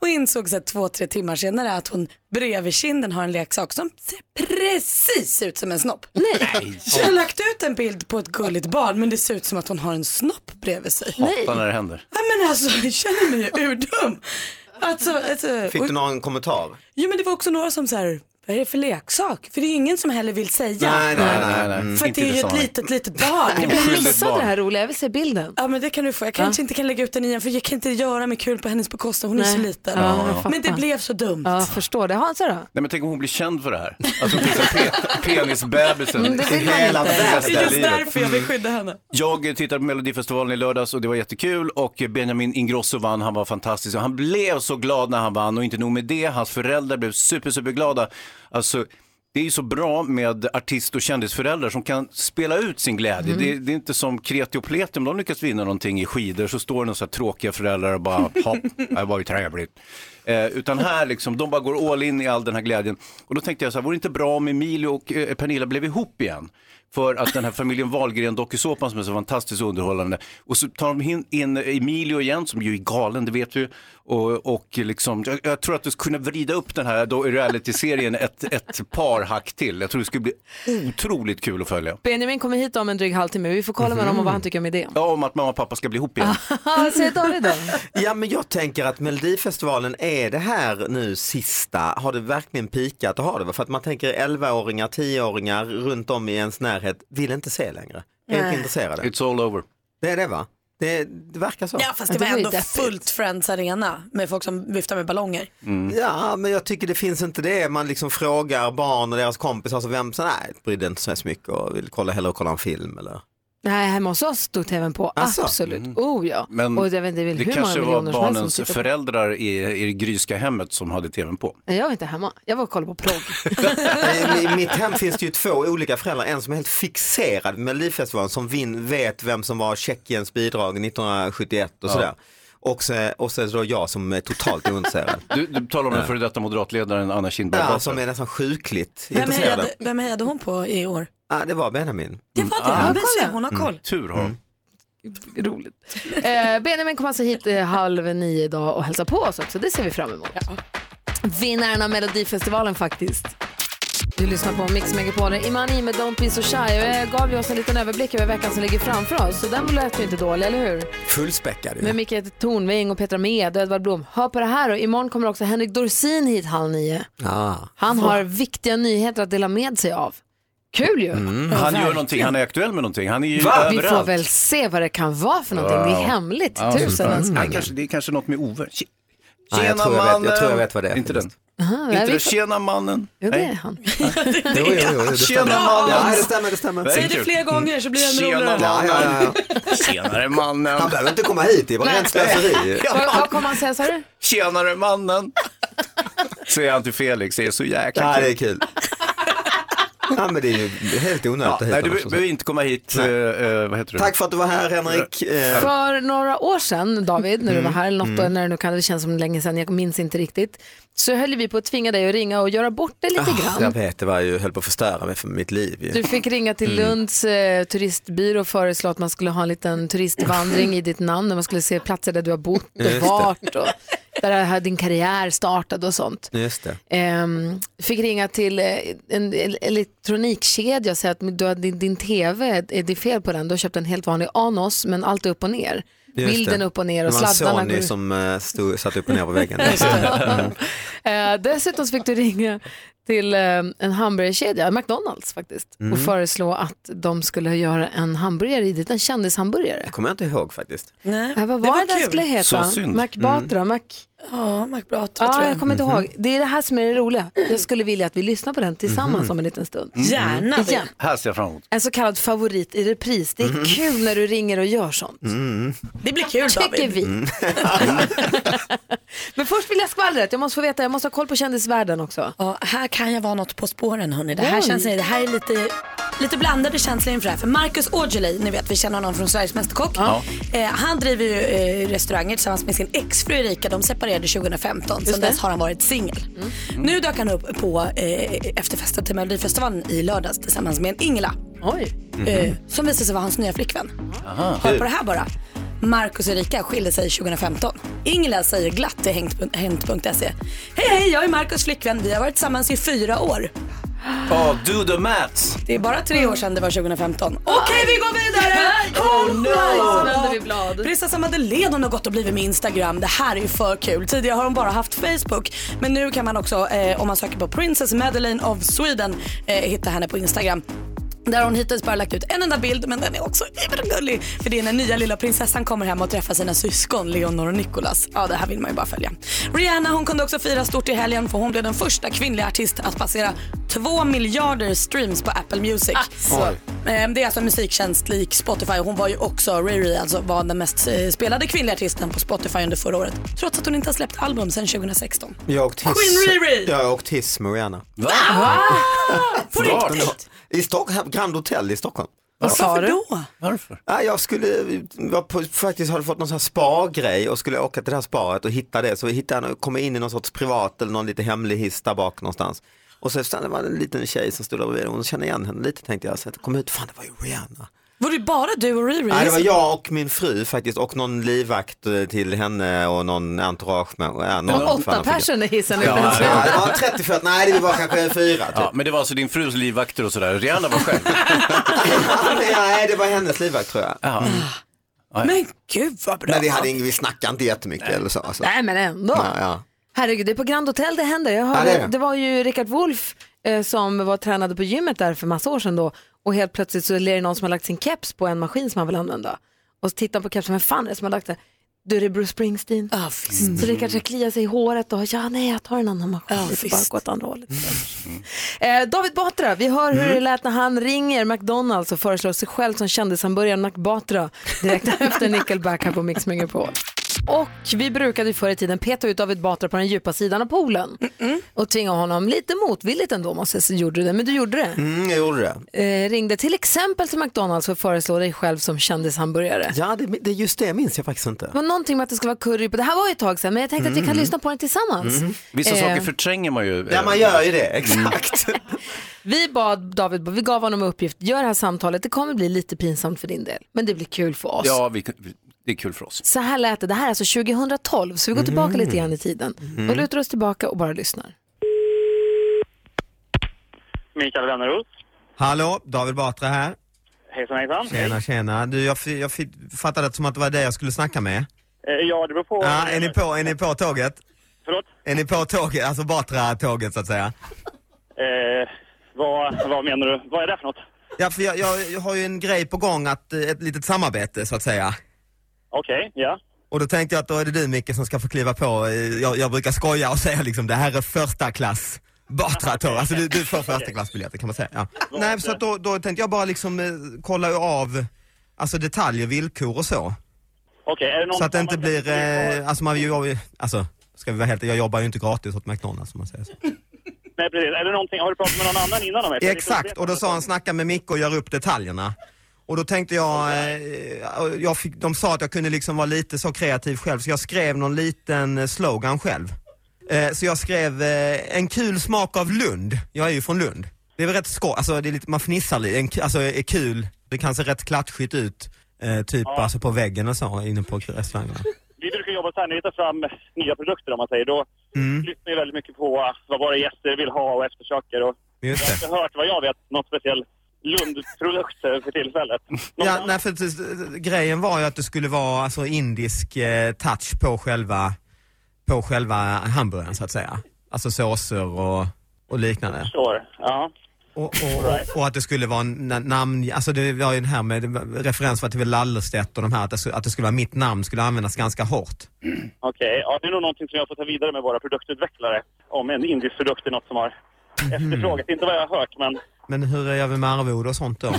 Speaker 6: och insåg så här, två, tre timmar senare att hon bredvid kinden har en leksak som ser precis ut som en snopp.
Speaker 1: Nej.
Speaker 6: Så jag har lagt ut en bild på ett gulligt barn men det ser ut som att hon har en snopp bredvid sig.
Speaker 3: Hatar när det händer.
Speaker 6: Nej men alltså jag känner mig ju urdum. Alltså, alltså,
Speaker 22: Fick
Speaker 6: och-
Speaker 22: du någon kommentar?
Speaker 6: Jo men det var också några som så här, vad är det för leksak? För det är ingen som heller vill säga. Mm.
Speaker 22: Nej, nej, nej, nej.
Speaker 6: För att
Speaker 22: Inte
Speaker 6: det är
Speaker 22: det
Speaker 6: ju ett
Speaker 22: samma.
Speaker 6: litet, litet barn.
Speaker 1: Jag
Speaker 6: Jag
Speaker 1: missade det här roliga, jag vill se bilden.
Speaker 6: Ja men det kan du få. Jag kanske inte kan lägga ut den igen för jag kan inte göra mig kul på hennes bekostnad. Hon är
Speaker 1: Nej.
Speaker 6: så liten.
Speaker 3: Ja, jag fattar.
Speaker 6: men det blev så dumt.
Speaker 1: Ja, jag förstår det. Hansa då?
Speaker 3: Nej, men tänk om hon blir känd för det här. Att hon finns en pe- penisbebisen
Speaker 1: Mm, det vill man inte.
Speaker 3: bästa
Speaker 6: Just
Speaker 3: livet.
Speaker 6: därför jag vill skydda henne.
Speaker 3: Jag tittade på Melodifestivalen i lördags och det var jättekul och Benjamin Ingrosso vann, han var fantastisk och han blev så glad när han vann och inte nog med det, hans föräldrar blev super, super glada. Alltså, det är ju så bra med artist och kändisföräldrar som kan spela ut sin glädje.
Speaker 14: Mm.
Speaker 3: Det, det är inte som kreti och pleti, om de lyckas vinna någonting i skidor så står det några så här tråkiga föräldrar och bara, ja, det var ju trevligt. Eh, utan här liksom, de bara går all in i all den här glädjen. Och då tänkte jag så här, vore det inte bra om Emilio och eh, Pernilla blev ihop igen? För att den här familjen Wahlgren dokusåpan som är så fantastiskt underhållande. Och så tar de in, in Emilio igen som ju är galen, det vet du. Och, och liksom, jag, jag tror att du skulle kunna vrida upp den här då- reality-serien ett, ett par hack till. Jag tror det skulle bli otroligt kul att följa.
Speaker 1: Benjamin kommer hit om en dryg halvtimme. Vi får kolla
Speaker 22: Mhm.
Speaker 1: med honom och vad han tycker om idén.
Speaker 3: Ja, om att mamma och pappa ska bli ihop igen.
Speaker 1: Vad säger David då?
Speaker 22: Ja men jag tänker att Melodifestivalen, är det här nu sista? Har det verkligen pikat? Har det? För att man tänker 11-åringar, 10-åringar runt om i ens närhet vill inte se längre. Är
Speaker 6: Nej.
Speaker 22: inte intresserade.
Speaker 3: It's all over.
Speaker 22: Det är det va? Det, det verkar så.
Speaker 6: Ja fast det var ändå fullt Friends Arena med folk som viftar med ballonger.
Speaker 3: Mm.
Speaker 22: Ja, men jag tycker det finns inte det. Man liksom frågar barn och deras kompisar, alltså vem så nej, brydde inte sig så mycket och vill kolla, hellre kolla en film eller.
Speaker 1: Nej, hemma hos oss stod tvn på. Absolut. Oh ja.
Speaker 3: Mm. Men
Speaker 1: och jag vet inte
Speaker 3: det
Speaker 1: hur många
Speaker 3: kanske var
Speaker 1: miljoner som helst som
Speaker 3: barnens
Speaker 1: sitter på.
Speaker 3: föräldrar i, i det gryska hemmet som hade tvn på.
Speaker 1: Nej, Jag var inte hemma. Jag var och kollade på progg.
Speaker 22: I- I mitt hem finns det ju två olika föräldrar, en som är helt fixerad med Melodifestivalen som vin, vet vem som var Tjeckiens bidrag 1971 och
Speaker 3: Ja.
Speaker 22: sådär. Och så, och så är det då jag som är totalt ointresserad.
Speaker 3: Du, du talar om den före detta moderatledaren Anna Kinberg
Speaker 22: Ja,
Speaker 3: Batra.
Speaker 22: som är nästan sjukligt
Speaker 6: Vem
Speaker 22: intresserad.
Speaker 6: hejade, vem hejade hon på i år?
Speaker 22: Ja, det var Benjamin. Mm.
Speaker 6: Det var det.
Speaker 22: Ja.
Speaker 6: men se, hon har koll.
Speaker 3: Mm. Tur har hon.
Speaker 1: Roligt. Eh, Benjamin kommer alltså hit eh, halv nio idag och hälsar på oss också. Det ser vi fram emot. Vinnaren av Melodifestivalen faktiskt. Du lyssnar på Mix Megapol. Imani med Don't Be So Shy. Och Jag gav ju oss en liten överblick över veckan som ligger framför oss. Så den lät ju inte dålig, eller hur?
Speaker 22: Fullspäckad ju.
Speaker 1: Med Micke Tornving och Petra Med och Edvard Blom. Hör på det här då. Imorgon kommer också Henrik Dorsin hit halv nio.
Speaker 22: Ja.
Speaker 1: Han har viktiga nyheter att dela med sig av. Kul ju!
Speaker 3: Mm, han gör någonting, han är aktuell med någonting. Han är ju
Speaker 1: Va? Vi får
Speaker 3: överallt.
Speaker 1: väl se vad det kan vara för någonting. Det är hemligt.
Speaker 3: Ja,
Speaker 1: Tusen
Speaker 3: spännande.
Speaker 1: önskningar.
Speaker 3: Nej, kanske, Det är kanske något med Ove. Tje-
Speaker 22: Nej, Mm. jag tror jag vet- jag tror jag vet vad det är
Speaker 3: Inte den.
Speaker 1: Aha, Ah, nej,
Speaker 3: inte
Speaker 1: vi
Speaker 3: det,
Speaker 1: får-
Speaker 3: tjena mannen.
Speaker 1: Jo, det är
Speaker 3: Nej.
Speaker 1: han.
Speaker 22: Jo, jo, jo,
Speaker 3: Tjena
Speaker 22: det stämmer.
Speaker 3: mannen.
Speaker 22: Ja, det stämmer, det stämmer.
Speaker 6: Säg det fler gånger så blir det ännu
Speaker 3: Tjena
Speaker 6: roligare.
Speaker 3: mannen. Tjenare mannen.
Speaker 22: Han behöver inte komma hit, det är bara rent slöseri.
Speaker 1: Vad- Vad kommer han säga, sa du?
Speaker 3: Tjenare mannen. Säger han till Felix, det är så jäkla
Speaker 22: Ja, det är kul. Ja, men det är ju helt onödigt att
Speaker 3: Ja,
Speaker 22: hit
Speaker 3: nej, du
Speaker 22: honom,
Speaker 3: be-
Speaker 22: så att
Speaker 3: behöver inte komma hit.
Speaker 22: Nej.
Speaker 3: eh, eh, vad heter du?
Speaker 22: Tack för att du var här, Henrik. Eh,
Speaker 1: För några år sedan, David, när du
Speaker 3: Mm,
Speaker 1: var här, eller något, när det nu kan, det känns som länge sedan, jag minns inte riktigt, så höll vi på att tvinga dig att ringa och göra bort dig lite
Speaker 22: Ah, Jag
Speaker 1: grann.
Speaker 22: vet, det var ju, höll på att förstöra mig för mitt liv. Ju.
Speaker 1: Du fick ringa till
Speaker 22: Mm.
Speaker 1: Lunds eh, turistbyrå och föreslå att man skulle ha en liten turistvandring i ditt namn, där man skulle se platser där du har bott
Speaker 22: Just det.
Speaker 1: och vart och där det här- din karriär startade och sånt.
Speaker 22: Just det.
Speaker 1: Ehm, fick ringa till eh, en el- elektronikkedja och säga att du har, din, din tv, är det fel på den? Du har köpt en helt vanlig Anos men allt är upp och ner.
Speaker 22: Just
Speaker 1: Bilden
Speaker 22: det.
Speaker 1: är upp och ner och
Speaker 22: Det var en
Speaker 1: sladdarna
Speaker 22: Sony
Speaker 1: går ut.
Speaker 22: som eh, stod, satt upp och ner på väggen.
Speaker 1: Just det. Eh, dessutom så fick du ringa till eh, en hamburgerkedja, McDonalds faktiskt,
Speaker 22: Mm.
Speaker 1: och föreslå att de skulle göra en hamburgare i det, en kändishamburgare.
Speaker 22: kommer jag inte ihåg faktiskt.
Speaker 6: Nej,
Speaker 1: Äh, vad
Speaker 6: det
Speaker 1: var
Speaker 6: var
Speaker 1: det den
Speaker 6: kul.
Speaker 1: skulle heta?
Speaker 22: Så synd. Mm. Mhm.
Speaker 1: Mac Batra, Mac...
Speaker 6: Ja, McBrata
Speaker 1: Ja,
Speaker 6: tror
Speaker 1: jag kommer inte ihåg. Det är det här som är det roliga. Jag skulle vilja att vi lyssnar på den tillsammans
Speaker 3: Mhm.
Speaker 1: om en liten stund.
Speaker 22: Eh,
Speaker 3: Mm.
Speaker 1: Igen.
Speaker 3: Här ser jag fram emot.
Speaker 1: En så kallad favorit i repris. Det är
Speaker 3: Mhm.
Speaker 1: kul när du ringer och gör sånt.
Speaker 22: Mm.
Speaker 6: Det blir kul
Speaker 1: Tycker
Speaker 6: David.
Speaker 1: vi. Men först vill jag skvallret. Jag måste få veta, jag måste ha koll på kändisvärlden också.
Speaker 6: Ja, här kan jag vara något på spåren hörni. Det här, känns, det här är lite, lite blandade känslor inför det här. För Marcus Aujalay, ni vet vi känner honom från Sveriges Mästerkock.
Speaker 1: Ja.
Speaker 6: Eh, han driver ju eh, restauranger tillsammans med sin exfru Erika. De separerade 2015.
Speaker 1: Just
Speaker 6: Sedan
Speaker 1: det. Mm.
Speaker 6: dess har han varit singel. Mm. Nu dök han upp på eh, efterfesten till Melodifestivalen i lördags tillsammans med en Ingela.
Speaker 1: Oj.
Speaker 6: Eh, som visade sig vara hans nya flickvän. Hör på det här bara. Marcus och Erika skilde sig 2015. Ingela säger glatt till Hengt- Hent.se. Hej, hej, jag är Marcus flickvän. Vi har varit tillsammans i fyra år.
Speaker 3: Ja, do the maths.
Speaker 6: Det är bara tre år sedan det var 2015. Okej, vi går vidare!
Speaker 1: Oh
Speaker 6: no!
Speaker 1: Så vänder vi blad.
Speaker 6: Prinsessan Madeleine hon har gått och blivit med Instagram. Det här är ju för kul. Tidigare har hon bara haft Facebook. Men nu kan man också, eh, om man söker på Princess Madeleine of Sweden, eh, hitta henne på Instagram. Där har hon hittills bara lagt ut en enda bild men den är också gullig. För det är när nya lilla prinsessan kommer hem och träffar sina syskon Leonor och Nicolas. Ja det här vill man ju bara följa. Rihanna hon kunde också fira stort i helgen för hon blev den första kvinnliga artist att passera 2 miljarder streams på Apple Music.
Speaker 1: Alltså.
Speaker 6: Ehm, Det är alltså en musiktjänst lik Spotify. Hon var ju också, Riri alltså, var den mest eh, spelade kvinnliga artisten på Spotify under förra året. Trots att hon inte har släppt album sedan 2016.
Speaker 22: Jag har åkt hiss.
Speaker 6: Queen Riri!
Speaker 22: Jag har åkt hiss med Rihanna. Va?
Speaker 6: På riktigt?
Speaker 22: I Stockholm, Grand Hotel i Stockholm.
Speaker 6: Vad sa Varför du? då?
Speaker 3: Varför?
Speaker 22: Ja, jag skulle, var på, faktiskt hade fått någon sån här spa-grej och skulle åka till det här spaet och hitta det. Så vi hittade, kom in i någon sorts privat eller någon lite hemlig hiss där bak någonstans. Och så stannade det var en liten tjej som stod där bredvid och hon kände igen henne lite tänkte jag. Så jag kom ut, fan det var ju Rihanna.
Speaker 6: Var det bara du och Riri?
Speaker 22: Nej, det var jag och min fru faktiskt och någon livvakt eh, till henne och någon entourage. Med, ja, någon
Speaker 1: Och
Speaker 22: fan,
Speaker 1: åtta
Speaker 22: jag fick-
Speaker 1: personer i hissen.
Speaker 22: Ja, det var- det var 30 för att, nej det var kanske fyra. Typ.
Speaker 3: Ja, men det var alltså din frus livvakter och sådär. Rihanna var själv.
Speaker 22: nej, det var hennes livvakt tror jag.
Speaker 1: Ah.
Speaker 6: Men gud vad bra.
Speaker 22: Men vi, hade ing, vi snackade inte jättemycket eller så. Alltså.
Speaker 1: Nej men ändå.
Speaker 22: Ja, ja.
Speaker 1: Herregud, det är på Grand Hotel det händer. Jag
Speaker 22: Ja,
Speaker 1: hörde,
Speaker 22: det är
Speaker 1: det,
Speaker 22: det.
Speaker 1: var ju Rickard Wolff eh, som var tränade på gymmet där för massa år sedan då och helt plötsligt så är det någon som har lagt sin keps på en maskin som han vill använda. Och så tittar han på kepsen, vem fan är det som har lagt den? Du, det är Bruce Springsteen.
Speaker 6: Ah,
Speaker 1: Så Rickard ska klia sig i håret och ja, nej, jag tar en annan maskin.
Speaker 6: Ja,
Speaker 1: Det får bara
Speaker 6: visst.
Speaker 1: gå åt andra hållet. Eh, David Batra, vi hör hur
Speaker 22: Mm.
Speaker 1: det lät när han ringer McDonalds och föreslår sig själv som kändishamburgaren Mac Batra direkt efter Nickelback här på Mix på. Och vi brukade ju förr i tiden peta ut David Batra på den djupa sidan av poolen och tvinga honom, lite motvilligt ändå måste jag säga, gjorde du det, men du gjorde det.
Speaker 22: Mm, jag gjorde det.
Speaker 1: Eh, ringde till exempel till McDonalds för att föreslå dig själv som kändishamburgare.
Speaker 22: Ja, det, det, just det minns jag faktiskt inte.
Speaker 1: Det var någonting med att det skulle vara curry på, det här var ju ett tag sedan men jag tänkte att vi kan
Speaker 3: Mm.
Speaker 1: lyssna på den tillsammans.
Speaker 3: Vissa
Speaker 1: Eh,
Speaker 3: saker förtränger man ju. eh, Mm.
Speaker 22: Ja, man gör ju det, exakt.
Speaker 1: Vi bad David, vi gav honom uppgift, gör det här samtalet, det kommer bli lite pinsamt för din del, men det blir kul för oss.
Speaker 3: Ja, vi, vi- det är kul för oss.
Speaker 1: Så här lät det, det här är alltså 2012, så vi går tillbaka
Speaker 3: Mm.
Speaker 1: lite grann i tiden
Speaker 3: Mm.
Speaker 1: och lutar oss tillbaka och bara lyssnar.
Speaker 14: Mikael Wennerros.
Speaker 22: Hallå, David Batra här.
Speaker 14: Hejsan hejsan.
Speaker 22: Tjena, tjena. Du, jag, fi- jag fi- fattade att som att det var dig jag skulle snacka med.
Speaker 14: Eh, Ja, det beror på.
Speaker 22: Ja, är ni på, är ni på tåget?
Speaker 14: Förlåt?
Speaker 22: Är ni på tåget, alltså Batra-tåget så att säga?
Speaker 14: Eh, vad, vad menar du? Vad är det för något?
Speaker 22: Ja, för jag, jag, jag har ju en grej på gång, att, eh, ett litet samarbete så att säga.
Speaker 14: Okej, ja.
Speaker 22: Och då tänkte jag att då är det du Micke som ska få kliva på. Eh, Jag, jag brukar skoja och säga liksom det här är första klass Batra-tåg. Alltså du, du får första klassbiljetter kan man säga. Ja. Nej, så att då, då tänkte jag bara liksom eh, kolla av alltså detaljer, villkor och så.
Speaker 14: Okej, är det någon
Speaker 22: Så att det inte blir, eh, alltså man jag, alltså ska vi vara helt jag jobbar ju inte gratis åt McDonalds om man säger så.
Speaker 14: Nej, precis. Är det någonting... Har du pratat med någon annan innan om det?
Speaker 22: Exakt, och då sa han snacka med Micke och gör upp detaljerna. Och då tänkte jag, eh, och jag fick, de sa att jag kunde liksom vara lite så kreativ själv så jag skrev någon liten eh, slogan själv. Eh, så jag skrev eh, en kul smak av Lund. Jag är ju från Lund. Det är väl rätt skoj, alltså det är lite, man fnissar lite, en, k- alltså är kul, det kan se rätt klatschigt ut. Eh, typ alltså på väggen och så inne på restaurangerna.
Speaker 14: Vi brukar jobba så här när vi tar fram nya produkter om man säger. Då
Speaker 22: Mm.
Speaker 14: lyssnar vi väldigt mycket på vad våra gäster vill ha och eftersöker. Och
Speaker 22: Just
Speaker 14: jag har inte hört vad jag vet någon speciell Lundprodukt eh, för tillfället.
Speaker 22: Ja, nej, för att, eh, grejen var ju att det skulle vara alltså, indisk eh, touch på själva, på själva hamburgaren så att säga. Alltså såser och och liknande.
Speaker 23: Förstår. Ja.
Speaker 22: Och, och, och att det skulle vara en na- namn, alltså det var ju den här med det var referens var till Lallerstedt och de här, att det, skulle- att det skulle vara mitt namn skulle användas ganska hårt.
Speaker 23: Okej, ja, det är nog någonting som jag får ta vidare med våra produktutvecklare. Om en indisk produkt är något som har
Speaker 22: Mm-hmm. Mm.
Speaker 23: efterfrågat. Inte vad jag har hört, men
Speaker 22: Men hur är jag med arvode och sånt då?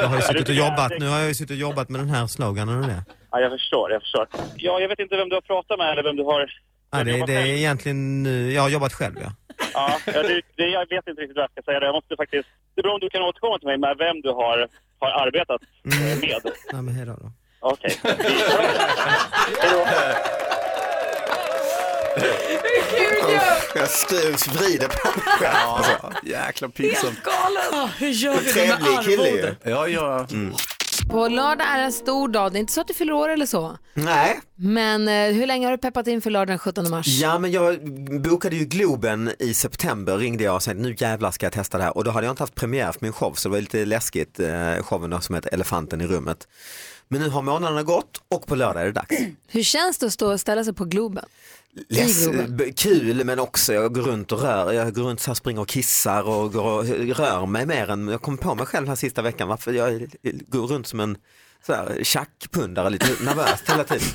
Speaker 22: Jag har ju suttit och jobbat, nu har jag ju suttit och jobbat med den här sloganen och det.
Speaker 23: ja, jag förstår, jag förstår. Ja, jag vet inte vem du har pratat med eller vem du har...
Speaker 22: Nej, det, det är egentligen, nu- jag har jobbat själv ja.
Speaker 23: Ja, ja, det, det, jag vet inte riktigt vad jag ska säga. Jag måste faktiskt... Det beror om du kan återkomma till mig med vem du har, har arbetat eh, med.
Speaker 22: Nej Mm. men hejdå då.
Speaker 23: Okej.
Speaker 22: Jag skruvs, vrider på mig själv. Alltså,
Speaker 3: jäkla pinsamt.
Speaker 6: Galen! Ah, Hur gör
Speaker 22: vi det med Trevlig kille ju. Mm. arvode?
Speaker 3: Ja, ja.
Speaker 1: På lördag är en stor dag. Det är inte så att du fyller år eller så.
Speaker 22: Nej.
Speaker 1: Men eh, hur länge har du peppat in för lördag den 17 mars?
Speaker 22: Ja men jag bokade ju Globen i september ringde jag och sa nu jävlar ska jag testa det här och då hade jag inte haft premiär för min show så det var lite läskigt, eh, showen då, som heter Elefanten i rummet. Men nu har månaderna gått och på lördag är det dags.
Speaker 1: Hur känns det att stå och ställa sig på Globen?
Speaker 22: Less,
Speaker 1: I Globen.
Speaker 22: b- kul men också jag går runt och rör, jag går runt så här springer och kissar och, går och rör mig mer än, jag kom på mig själv den här sista veckan varför jag går runt som en så här tjackpundare lite nervös hela tiden.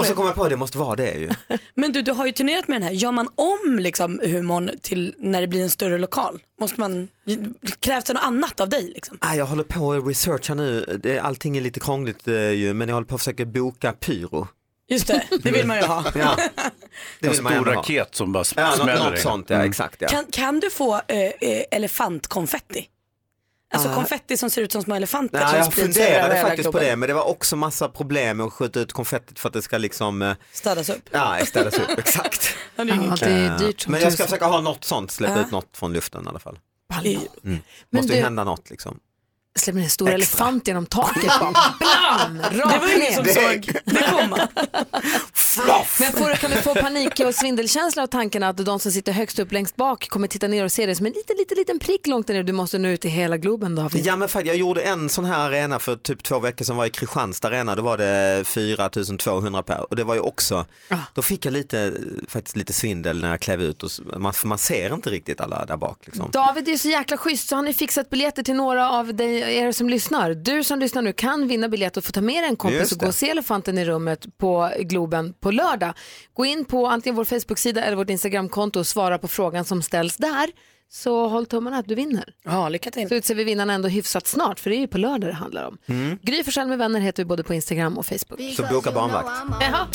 Speaker 22: Och så kom jag på det måste vara det ju.
Speaker 6: Men du, du har ju turnerat med den här. Gör man om liksom, humorn till när det blir en större lokal? Måste man, krävs det något annat av dig? Liksom?
Speaker 22: Ah, jag håller på och researchar nu, Det- allting är lite krångligt eh, ju men jag håller på att försöka boka pyro.
Speaker 6: Just det, det vill man ju ha.
Speaker 22: Ja.
Speaker 3: En
Speaker 22: vill
Speaker 3: stor
Speaker 22: man gärna ha.
Speaker 3: raket som bara
Speaker 22: Ja, nå-
Speaker 3: smäller
Speaker 22: något
Speaker 3: in. Mm.
Speaker 22: sånt ja, exakt ja.
Speaker 6: Kan, kan du få eh, eh, elefantkonfetti? Alltså
Speaker 22: Ah.
Speaker 6: konfetti som ser ut som små elefanter. Typ
Speaker 22: Ja,
Speaker 6: som
Speaker 22: jag
Speaker 6: sprids över hela
Speaker 22: funderade faktiskt på
Speaker 6: klubben.
Speaker 22: det men det var också massa problem med att skjuta ut konfettit för att det ska liksom eh,
Speaker 6: Städas upp.
Speaker 22: Ja, ställas upp, exakt.
Speaker 6: Ja, det är ingen kul.
Speaker 22: Eh, Men jag ska försöka ha något sånt, släppa
Speaker 1: Ja.
Speaker 22: ut något från luften i alla fall.
Speaker 1: Ballo.
Speaker 22: Mm.
Speaker 1: Men
Speaker 22: Måste ju
Speaker 1: du-
Speaker 22: hända något liksom.
Speaker 1: Släpper ner en stor elefant genom taket bara. Blam! Rakt
Speaker 6: Det var ingen
Speaker 1: ner.
Speaker 6: som såg det komma.
Speaker 1: Men får, du- kan du få panik och svindelkänsla av tanken att de som sitter högst upp längst bak kommer titta ner och se dig som en liten, liten, liten prick långt där ner. Du måste nå ut i hela Globen då.
Speaker 22: Ja men faktiskt, jag gjorde en sån här arena för typ två veckor sedan var i Kristianstad arena, då var det 4200 per och det var ju också, då fick jag lite, faktiskt lite svindel när jag klev ut och s- man, för man ser inte riktigt alla där bak liksom.
Speaker 1: David är ju så jäkla schysst så han har ju fixat biljetter till några av dig, er som lyssnar. Du som lyssnar nu kan vinna biljett och få ta med dig en kompis
Speaker 22: Just
Speaker 1: och gå
Speaker 22: det.
Speaker 1: och se elefanten i rummet på Globen på lördag. Gå in på antingen vår Facebook-sida eller vårt Instagram-konto och svara på frågan som ställs där. Så håll tummarna att du vinner.
Speaker 6: Ja, lycka till.
Speaker 1: Så utser vi vinnarna ändå hyfsat snart för det är ju på lördag det handlar om. Mm. Gry Forssell med vänner heter vi både på Instagram och Facebook.
Speaker 22: Så boka barnvakt.
Speaker 1: Jaha.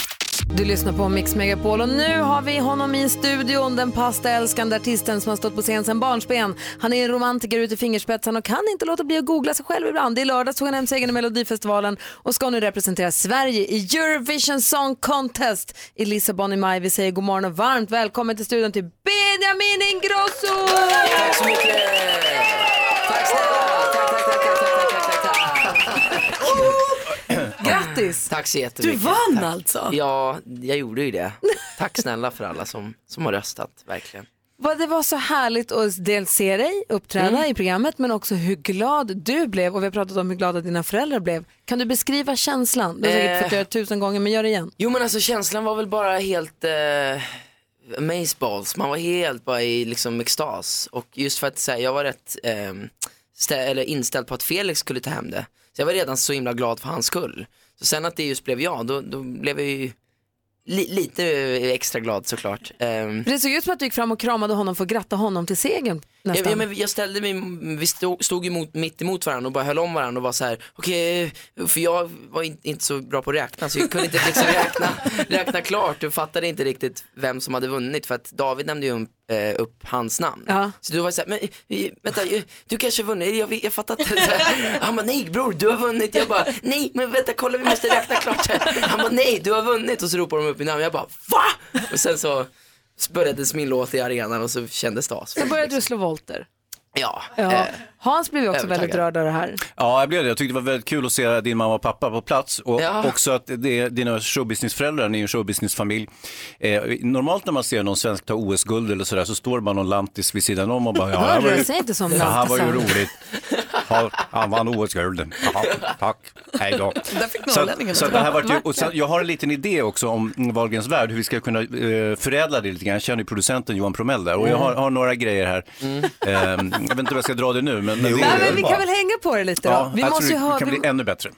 Speaker 1: Du lyssnar på Mix Megapol och nu har vi honom i studion, den pastaälskande artisten som har stått på scen sedan barnsben. Han är en romantiker ut i fingerspetsarna och kan inte låta bli att googla sig själv ibland. I lördags tog han hem segern i Melodifestivalen och ska nu representera Sverige i Eurovision Song Contest i Lissabon i maj. Vi säger god morgon och varmt välkommen till studion till Benjamin Ingrosso!
Speaker 4: Tack så mycket! Tack snälla! Tack, tack, tack, tack, tack, tack, tack, tack.
Speaker 1: Grattis!
Speaker 4: Tack så jättemycket.
Speaker 6: Du vann
Speaker 4: Tack.
Speaker 6: alltså?
Speaker 4: Ja, jag gjorde ju det. Tack snälla för alla som, som har röstat, verkligen.
Speaker 1: Vad Det var så härligt att dels se dig uppträda
Speaker 4: Mm.
Speaker 1: i programmet men också hur glad du blev och vi har pratat om hur glada dina föräldrar blev. Kan du beskriva känslan? Du har säkert fått
Speaker 4: Eh.
Speaker 1: göra tusen gånger men gör det igen.
Speaker 4: Jo men alltså känslan var väl bara helt eh, amazeballs. Man var helt bara i liksom extas. Och just för att så här, jag var rätt eh, stä- eller inställd på att Felix skulle ta hem det. Så jag var redan så himla glad för hans skull. Så sen att det just blev jag, då, då blev jag ju li- lite extra glad såklart. Ehm,
Speaker 1: För det såg ut som att du gick fram och kramade honom för att gratta honom till segern.
Speaker 4: Ja,
Speaker 1: Nästan.
Speaker 4: ja, men jag ställde mig, vi stod, stod emot, mitt emot varandra och bara höll om varandra och var så här, okej, för jag var in, inte så bra på att räkna så jag kunde inte liksom räkna, räkna klart och fattade inte riktigt vem som hade vunnit för att David nämnde ju eh, upp hans namn. Så då var jag så här, men eh, vänta, eh, du kanske har vunnit, jag, vet- jag fattar inte. Så här, Han bara, nej bror, du har vunnit. Jag bara, nej men vänta, kolla vi måste räkna klart. här." Han bara, nej du har vunnit och så ropar de upp mitt namn. Jag bara, va? Och sen så började min låt i arenan och så kändes det as.
Speaker 1: Sen började du slå volter.
Speaker 4: Ja.
Speaker 1: Ja.
Speaker 4: eh,
Speaker 1: Hans blev ju också
Speaker 3: Övertagad.
Speaker 1: väldigt rörd av det här.
Speaker 3: Ja, jag blev det. Jag tyckte det var väldigt kul att se din mamma och pappa på plats och
Speaker 1: Ja.
Speaker 3: också att det, dina showbusinessföräldrar, ni är ju en showbusinessfamilj. Eh, normalt när man ser någon svensk ta OS-guld eller sådär så står det bara någon lantis vid sidan om och bara, ja,
Speaker 1: Hör
Speaker 3: han var
Speaker 1: du,
Speaker 3: ju,
Speaker 1: säg inte som
Speaker 3: ja, han var ju
Speaker 1: lantisar.
Speaker 3: roligt. Ja, han vann OS-gulden. Jaha, tack, hej då.
Speaker 1: Där fick
Speaker 3: Så,
Speaker 1: norrlänningen
Speaker 3: att- så att det
Speaker 1: lite.
Speaker 3: här vart ju, och sen,
Speaker 1: Vackert.
Speaker 3: jag har en liten idé också om Wahlgrens värld, hur vi ska kunna eh, förädla det lite grann. Jag känner ju producenten Johan Promell där och jag
Speaker 1: Mm.
Speaker 3: har, har några grejer här. Ehm, jag vet inte om jag ska dra det nu, men... men det
Speaker 1: Nej,
Speaker 3: är
Speaker 1: men vi
Speaker 3: bra.
Speaker 1: kan väl hänga på det lite då.
Speaker 3: Ja,
Speaker 1: vi
Speaker 3: jag
Speaker 1: måste
Speaker 3: tror
Speaker 1: ju
Speaker 3: det
Speaker 1: höra,
Speaker 3: kan
Speaker 1: vi-
Speaker 3: bli ännu bättre.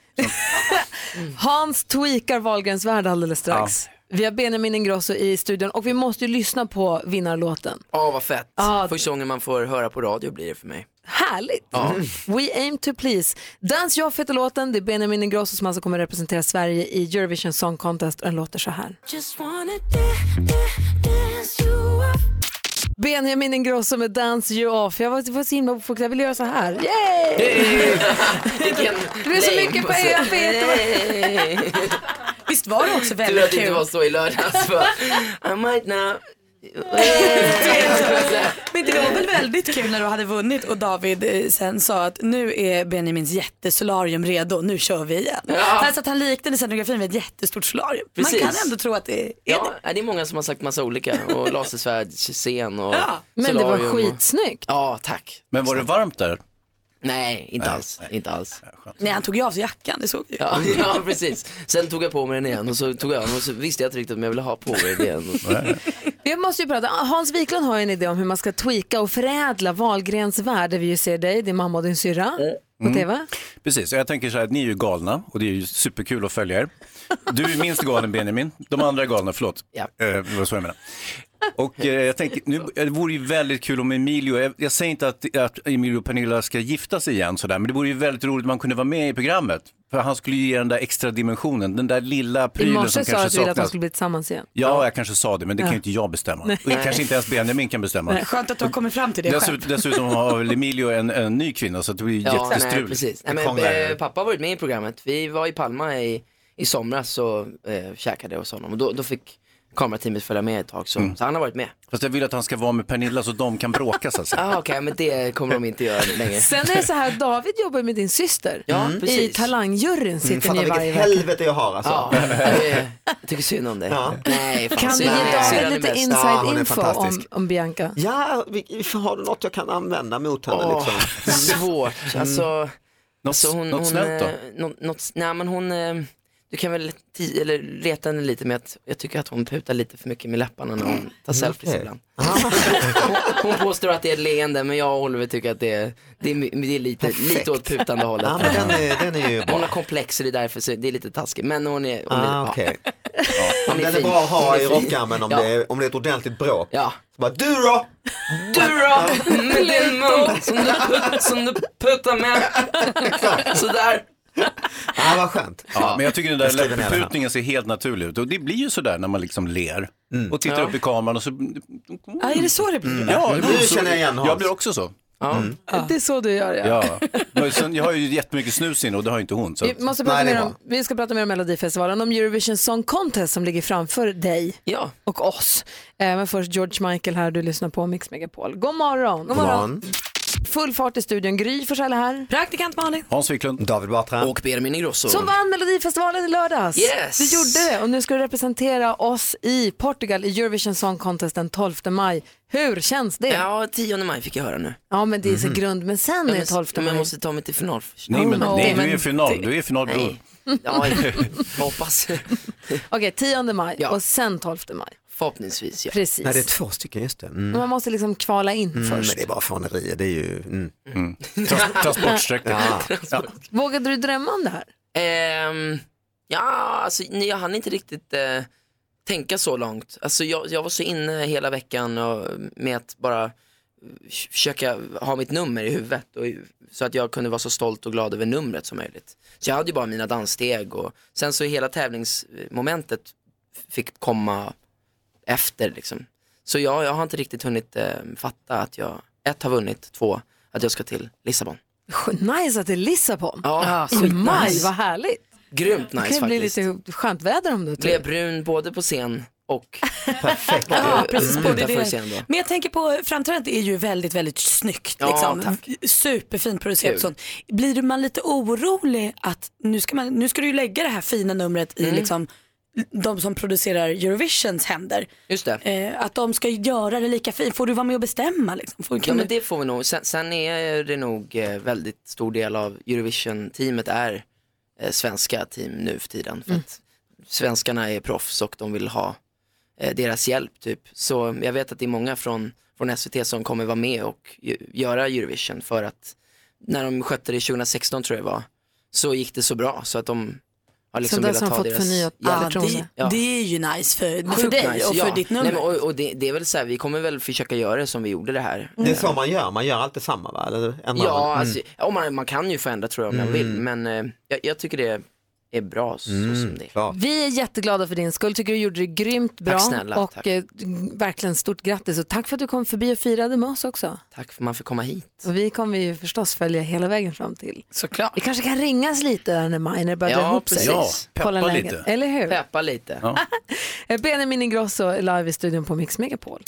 Speaker 1: Hans tweakar Wahlgrens värld alldeles strax. Vi har Benjamin Ingrosso i studion och vi måste ju lyssna på vinnarlåten.
Speaker 4: Ja, vad fett. Första gången man får höra på radio blir det för mig.
Speaker 1: Härligt!
Speaker 4: Ja.
Speaker 1: We aim to please. Dance Off heter låten, det är Benjamin Ingrosso som alltså kommer representera Sverige i Eurovision Song Contest och den låter så här.
Speaker 18: Just wanna da- da- dance you up.
Speaker 1: Benjamin Ingrosso med Dance You Off. Jag var, var så himla uppfokuserad, jag ville göra så här. Yay! det blev så
Speaker 4: lame
Speaker 1: mycket på
Speaker 4: pussel.
Speaker 1: jag vet. det var-
Speaker 6: Visst var det också
Speaker 4: Tur
Speaker 6: väldigt
Speaker 4: att det inte
Speaker 6: kul?
Speaker 4: var så i lördags. För I might now.
Speaker 6: Men det var väl väldigt kul när du hade vunnit och David eh, sen sa att nu är Benjamins jättesolarium redo, nu kör vi igen.
Speaker 4: Ja.
Speaker 6: Alltså att han liknade scenografin vid ett jättestort solarium.
Speaker 4: Precis.
Speaker 6: Man kan ändå tro att det är
Speaker 4: Ja, det är många som har sagt massa olika. Och lasersvärd, scen och
Speaker 6: Ja.
Speaker 1: Men det var
Speaker 4: solarium och-
Speaker 1: skitsnyggt.
Speaker 4: Ja, tack.
Speaker 3: Men var det varmt där?
Speaker 4: Nej, inte alls. Inte alls.
Speaker 6: Nej, han tog ju av sig jackan, det såg du ju.
Speaker 4: Ja, ja, precis. Sen tog jag på mig den igen och så tog jag den och så visste jag inte riktigt om jag ville ha på mig den igen.
Speaker 1: Vi måste ju prata, Hans Wiklund har ju en idé om hur man ska tweaka och förädla Wahlgrens värld där vi ju ser dig, din mamma och din syrra på
Speaker 3: Mm.
Speaker 1: tv.
Speaker 3: Precis, jag tänker så här att ni är ju galna och det är ju superkul att följa er. Du är minst galen Benjamin, de andra är galna, förlåt.
Speaker 4: Ja.
Speaker 3: Eh, det var så jag menade. Och eh, jag tänker, nu, det vore ju väldigt kul om Emilio, jag, jag säger inte att, att Emilio och Pernilla ska gifta sig igen sådär, men det vore ju väldigt roligt om han kunde vara med i programmet. För han skulle ju ge den där extra dimensionen, den där lilla
Speaker 1: I
Speaker 3: prylen som
Speaker 1: morse sa du
Speaker 3: kanske
Speaker 1: att du ville att de
Speaker 3: saknas.
Speaker 1: skulle bli tillsammans igen.
Speaker 3: Ja, jag kanske sa det, men det kan
Speaker 1: Ja.
Speaker 3: ju inte jag bestämma.
Speaker 1: Nej.
Speaker 3: Och kanske inte ens Benjamin kan bestämma.
Speaker 6: Nej, Skönt att du har kommit fram till det själv.
Speaker 3: Dessutom, dessutom har väl Emilio en, en ny kvinna så att det blir
Speaker 4: Ja, nej,
Speaker 3: jättestruligt.
Speaker 4: precis. Nej,
Speaker 3: Det
Speaker 4: men,
Speaker 3: krånglar.
Speaker 4: eh, pappa har varit med i programmet. Vi var i Palma i, i somras och eh, käkade hos honom. Och då, då fick kamerateamet följa med ett tag. Så, så han har varit med.
Speaker 3: Fast jag vill att han ska vara med Pernilla så de kan bråka så att säga.
Speaker 4: Ah, Okej, men det kommer de inte göra längre.
Speaker 1: Sen är det så här, David jobbar med din syster. Mm.
Speaker 4: Ja,
Speaker 1: I
Speaker 4: precis.
Speaker 1: talangjuryn
Speaker 4: Mm,
Speaker 1: sitter
Speaker 4: fatta
Speaker 1: ni
Speaker 4: vilket
Speaker 1: varje vecka.
Speaker 22: Helvete jag har alltså.
Speaker 4: Ja, jag tycker synd om dig. Nej, fan,
Speaker 1: Kan du ge
Speaker 4: synd. Nej,
Speaker 1: David
Speaker 4: hon är
Speaker 1: lite
Speaker 4: bäst.
Speaker 1: inside
Speaker 4: Ja, hon är
Speaker 1: info om,
Speaker 4: fantastisk.
Speaker 1: om Bianca?
Speaker 22: Ja, vi, vi har du något jag kan använda mot henne
Speaker 4: Åh,
Speaker 22: liksom?
Speaker 4: Svårt, alltså.
Speaker 22: Något-
Speaker 4: så hon,
Speaker 22: något
Speaker 4: hon,
Speaker 22: snällt då?
Speaker 4: eh, Något, något, nej men hon, eh, du kan väl ti- eller reta henne lite med att jag tycker att hon putar lite för mycket med läpparna när hon tar selfies
Speaker 22: Mm, okej. Ah.
Speaker 4: ibland. hon, hon påstår att det är ett leende men jag och Oliver tycker att det är, det är, det är lite, lite åt putande hållet.
Speaker 22: Ja, men den är- den är ju bra.
Speaker 4: Hon har komplex så det är därför så det är lite taskigt. Men hon är, hon är,
Speaker 22: Ah,
Speaker 4: ja.
Speaker 22: okej.
Speaker 4: Hon
Speaker 22: Den är
Speaker 4: fin.
Speaker 22: bra att
Speaker 4: Hon
Speaker 22: ha
Speaker 4: är
Speaker 22: i
Speaker 4: fin.
Speaker 22: rockärmen om,
Speaker 4: Ja.
Speaker 22: det är- om det är ett ordentligt bråk.
Speaker 4: Ja.
Speaker 22: Så bara, du då?
Speaker 4: Du då? Med din mun som du, put, som du puttar med. Sådär.
Speaker 22: Ja, vad skönt.
Speaker 3: Ja, men jag tycker den
Speaker 22: Jag skriver
Speaker 3: där
Speaker 22: ner den här.
Speaker 3: läpputningen ser helt naturlig ut och det blir ju sådär när man liksom ler och tittar
Speaker 4: Ja.
Speaker 3: upp i kameran och så...
Speaker 6: Ja, är det så det blir?
Speaker 3: Ja, det blir
Speaker 22: Nu
Speaker 3: så,
Speaker 22: känner jag igen Hans.
Speaker 3: Jag blir också så.
Speaker 4: Mm.
Speaker 1: Det är så du gör ja.
Speaker 3: Ja. Men sen, jag har ju jättemycket snus in och det har ju inte hon. Så.
Speaker 1: Vi, måste
Speaker 3: Nej,
Speaker 1: prata
Speaker 3: det är
Speaker 1: mer
Speaker 3: bra.
Speaker 1: om, vi ska prata mer om Melodifestivalen, om Eurovision Song Contest som ligger framför dig
Speaker 4: ja.
Speaker 1: och oss. Eh, Men först George Michael här, du lyssnar på Mix Megapol. God morgon!
Speaker 4: God morgon.
Speaker 1: Full fart i studion, Gry Forssell är här.
Speaker 6: Praktikant Malin.
Speaker 3: Hans Wiklund.
Speaker 22: David Batra.
Speaker 4: Och Benjamin Ingrosso.
Speaker 1: Som vann Melodifestivalen i lördags.
Speaker 4: Yes.
Speaker 1: Du gjorde det och nu ska du representera oss i Portugal i Eurovision Song Contest den 12 maj. Hur känns det? Ja,
Speaker 4: Ja, 10 maj fick jag höra nu.
Speaker 1: men det är
Speaker 3: Mhm.
Speaker 1: så grund, men sen är det 12
Speaker 4: men
Speaker 1: maj.
Speaker 4: jag måste ta mig till final först.
Speaker 3: Nej, men,
Speaker 1: Oh.
Speaker 3: nej, du är
Speaker 1: Men-
Speaker 3: i final. Du är i final, bror.
Speaker 4: Ja, jag hoppas.
Speaker 1: Okej, 10 maj och sen 12 maj.
Speaker 4: Förhoppningsvis ja.
Speaker 1: Precis.
Speaker 22: Nej, det är två stycken, just det. Mm.
Speaker 1: Man måste liksom kvala in
Speaker 22: Mm, men
Speaker 1: först.
Speaker 22: det är bara fånerier, det är ju... Mm.
Speaker 3: Transportsträcka.
Speaker 22: Ja.
Speaker 1: Vågade du drömma om det här?
Speaker 4: Ehm, ja, alltså nej, jag hann inte riktigt eh, tänka så långt. Alltså jag, jag var så inne hela veckan och, med att bara f- försöka ha mitt nummer i huvudet och, så att jag kunde vara så stolt och glad över numret som möjligt. Så jag hade ju bara mina danssteg och sen så hela tävlingsmomentet fick komma efter liksom. Så jag, jag har inte riktigt hunnit eh, fatta att jag, ett, har vunnit, två, att jag ska till Lissabon.
Speaker 1: Nice att det är Lissabon.
Speaker 4: Ja,
Speaker 1: I
Speaker 4: skitnice.
Speaker 1: maj, vad härligt.
Speaker 4: Grymt nice
Speaker 1: det kan
Speaker 4: faktiskt.
Speaker 1: ju bli lite skönt väder om du typ-
Speaker 4: Blev brun både på scen och
Speaker 22: Perfekt.
Speaker 6: Ja, precis.
Speaker 22: Mm.
Speaker 6: Både
Speaker 22: Där får vi se
Speaker 6: det.
Speaker 22: ändå.
Speaker 6: Men jag tänker på framträdandet är ju väldigt, väldigt snyggt.
Speaker 22: Ja,
Speaker 6: Liksom.
Speaker 22: tack.
Speaker 6: Superfint producerat
Speaker 22: Kul.
Speaker 6: och sånt. Blir du man lite orolig att nu ska, man, nu ska du ju lägga det här fina numret i
Speaker 4: Mm.
Speaker 6: liksom, de som producerar Eurovisions händer.
Speaker 4: Just det.
Speaker 6: Eh, att de ska göra det lika fint. Får du vara med och bestämma? Liksom? Får,
Speaker 4: Ja
Speaker 6: kan
Speaker 4: men
Speaker 6: du...
Speaker 4: det får vi nog. Sen, sen är det nog eh, väldigt stor del av Eurovision-teamet är eh, svenska team nu för tiden.
Speaker 1: Mm.
Speaker 4: För att svenskarna är proffs och de vill ha eh, deras hjälp typ. Så jag vet att det är många från, från SVT som kommer vara med och ju, göra Eurovision för att när de skötte det 2016 tror jag det var, så gick det så bra så att de har liksom
Speaker 1: de
Speaker 4: velat
Speaker 1: som
Speaker 4: ha
Speaker 1: fått
Speaker 4: deras
Speaker 1: förnyat
Speaker 4: hjälp.
Speaker 6: det,
Speaker 4: Ja.
Speaker 6: det är ju nice för, för
Speaker 4: Sjukt
Speaker 6: dig
Speaker 4: nice,
Speaker 6: och för
Speaker 4: ja.
Speaker 6: ditt nummer.
Speaker 4: Nej, men, och, och det, det är väl så här, vi kommer väl försöka göra det som vi gjorde det här.
Speaker 6: Mm.
Speaker 22: Det är så man gör, man gör alltid samma va? Eller ändrar man?
Speaker 4: Ja, alltså, ja, man, man kan ju förändra tror jag om man
Speaker 22: Mm.
Speaker 4: vill, men eh, jag, jag tycker det är bra så, så som det är.
Speaker 1: Vi är jätteglada för din skull, tycker du gjorde det grymt bra.
Speaker 4: Tack snälla,
Speaker 1: och
Speaker 4: tack.
Speaker 1: eh, verkligen stort grattis och tack för att du kom förbi och firade med oss också.
Speaker 4: Tack för att man får komma hit.
Speaker 1: Och vi kommer ju förstås följa hela vägen fram till.
Speaker 6: Såklart.
Speaker 1: Vi kanske kan ringas lite där när Miner börjar dra
Speaker 4: Ja,
Speaker 1: ihop sig.
Speaker 4: precis. Ja, peppa
Speaker 1: Kolla läget.
Speaker 4: lite.
Speaker 1: Eller hur?
Speaker 4: Peppa lite.
Speaker 1: Eh, Benjamin Ingrosso är live i studion på Mix Megapol.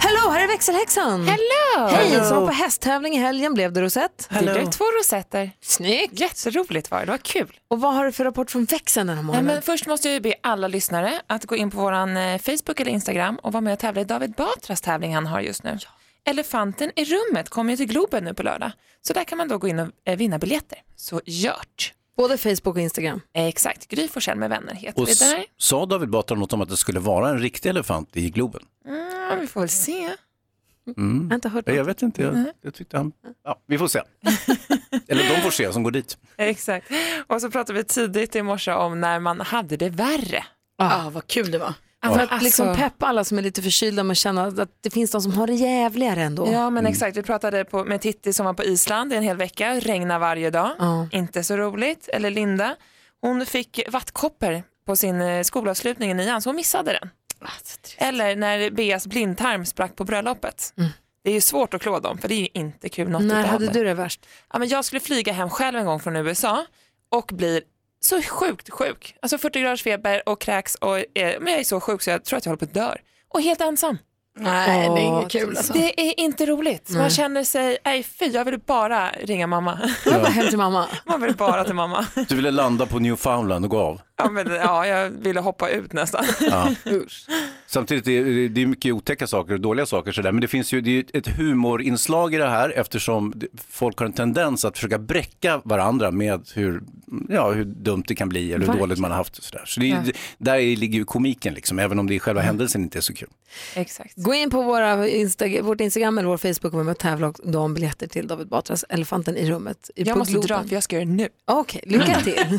Speaker 1: Hello, här är växelhäxan.
Speaker 7: Hello!
Speaker 1: Hej,
Speaker 7: Hello.
Speaker 1: som var på hästtävling i helgen blev det rosett.
Speaker 7: Det blev två rosetter. Snyggt! Jätteroligt var det, det var kul.
Speaker 1: Och vad har du för rapport från växeln den här
Speaker 7: Nej,
Speaker 1: morgonen?
Speaker 7: men först måste jag ju be alla lyssnare att gå in på vår Facebook eller Instagram och vara med och tävla i David Batras tävling han har just nu. Elefanten i rummet kommer ju till Globen nu på lördag. Så där kan man då gå in och eh, vinna biljetter. Så gjort! Eh,
Speaker 1: Både Facebook och Instagram?
Speaker 7: Exakt, Gry Forssell med vänner heter
Speaker 3: Och
Speaker 7: vi
Speaker 3: s-
Speaker 7: där.
Speaker 3: sa David Batra något om att det skulle vara en riktig elefant i Globen?
Speaker 7: Mm, vi får väl se.
Speaker 3: Mm. Jag
Speaker 1: har inte hört
Speaker 3: Jag vet inte, jag,
Speaker 7: Nej.
Speaker 3: jag tyckte han... Ja, vi får se. Eller de får se som går dit.
Speaker 7: Eh, Exakt. Och så pratade vi tidigt i morse om när man hade det värre.
Speaker 6: Ah, vad kul det var.
Speaker 7: alltså,
Speaker 1: För att liksom peppa alla som är lite förkylda med att känna att det finns de som har det jävligare ändå.
Speaker 7: Ja men exakt, vi pratade på, med Titti som var på Island i en hel vecka, regna varje dag,
Speaker 1: Ja.
Speaker 7: inte så roligt. Eller Linda, hon fick vattkoppor på sin eh, skolavslutning i nian så hon missade den.
Speaker 1: Ah,
Speaker 7: Eller när Beas blindtarm sprack på bröllopet. Det är ju svårt att klå dem för det är ju inte kul något
Speaker 1: När
Speaker 7: utav
Speaker 1: Mm. hade
Speaker 7: det.
Speaker 1: du det värst?
Speaker 7: Ja, men jag skulle flyga hem själv en gång från USA och blir så sjukt sjuk. Alltså 40 graders feber och kräks och eh, men jag är så sjuk så jag tror att jag håller på att dö. Och helt ensam.
Speaker 6: Nej, det är inget kul alltså.
Speaker 7: Det är inte roligt. Man
Speaker 6: Nej.
Speaker 7: känner sig, nej fy, jag vill bara ringa mamma.
Speaker 3: Ja. Hem
Speaker 1: till mamma.
Speaker 7: Man vill bara till mamma.
Speaker 3: Du ville landa på Newfoundland och gå av.
Speaker 7: Ja, men, ja jag ville hoppa ut nästan.
Speaker 3: Ja. Samtidigt, är det, det är mycket otäcka saker och dåliga saker sådär, men det finns ju det är ju ett humorinslag i det här eftersom det- folk har en tendens att försöka bräcka varandra med hur, ja, hur dumt det kan bli eller hur
Speaker 1: Verkligen.
Speaker 3: dåligt man har haft. Och sådär. Så det är,
Speaker 1: Ja.
Speaker 3: ju- där ligger ju komiken, liksom, även om det i själva händelsen inte är så kul.
Speaker 7: Exakt.
Speaker 1: Gå in på våra Insta- vårt Instagram eller vår Facebook och vara med och tävla om biljetter till David Batras Elefanten i rummet. i-
Speaker 7: Jag
Speaker 1: på
Speaker 7: måste dra för jag ska göra det nu.
Speaker 1: Okej, lycka till.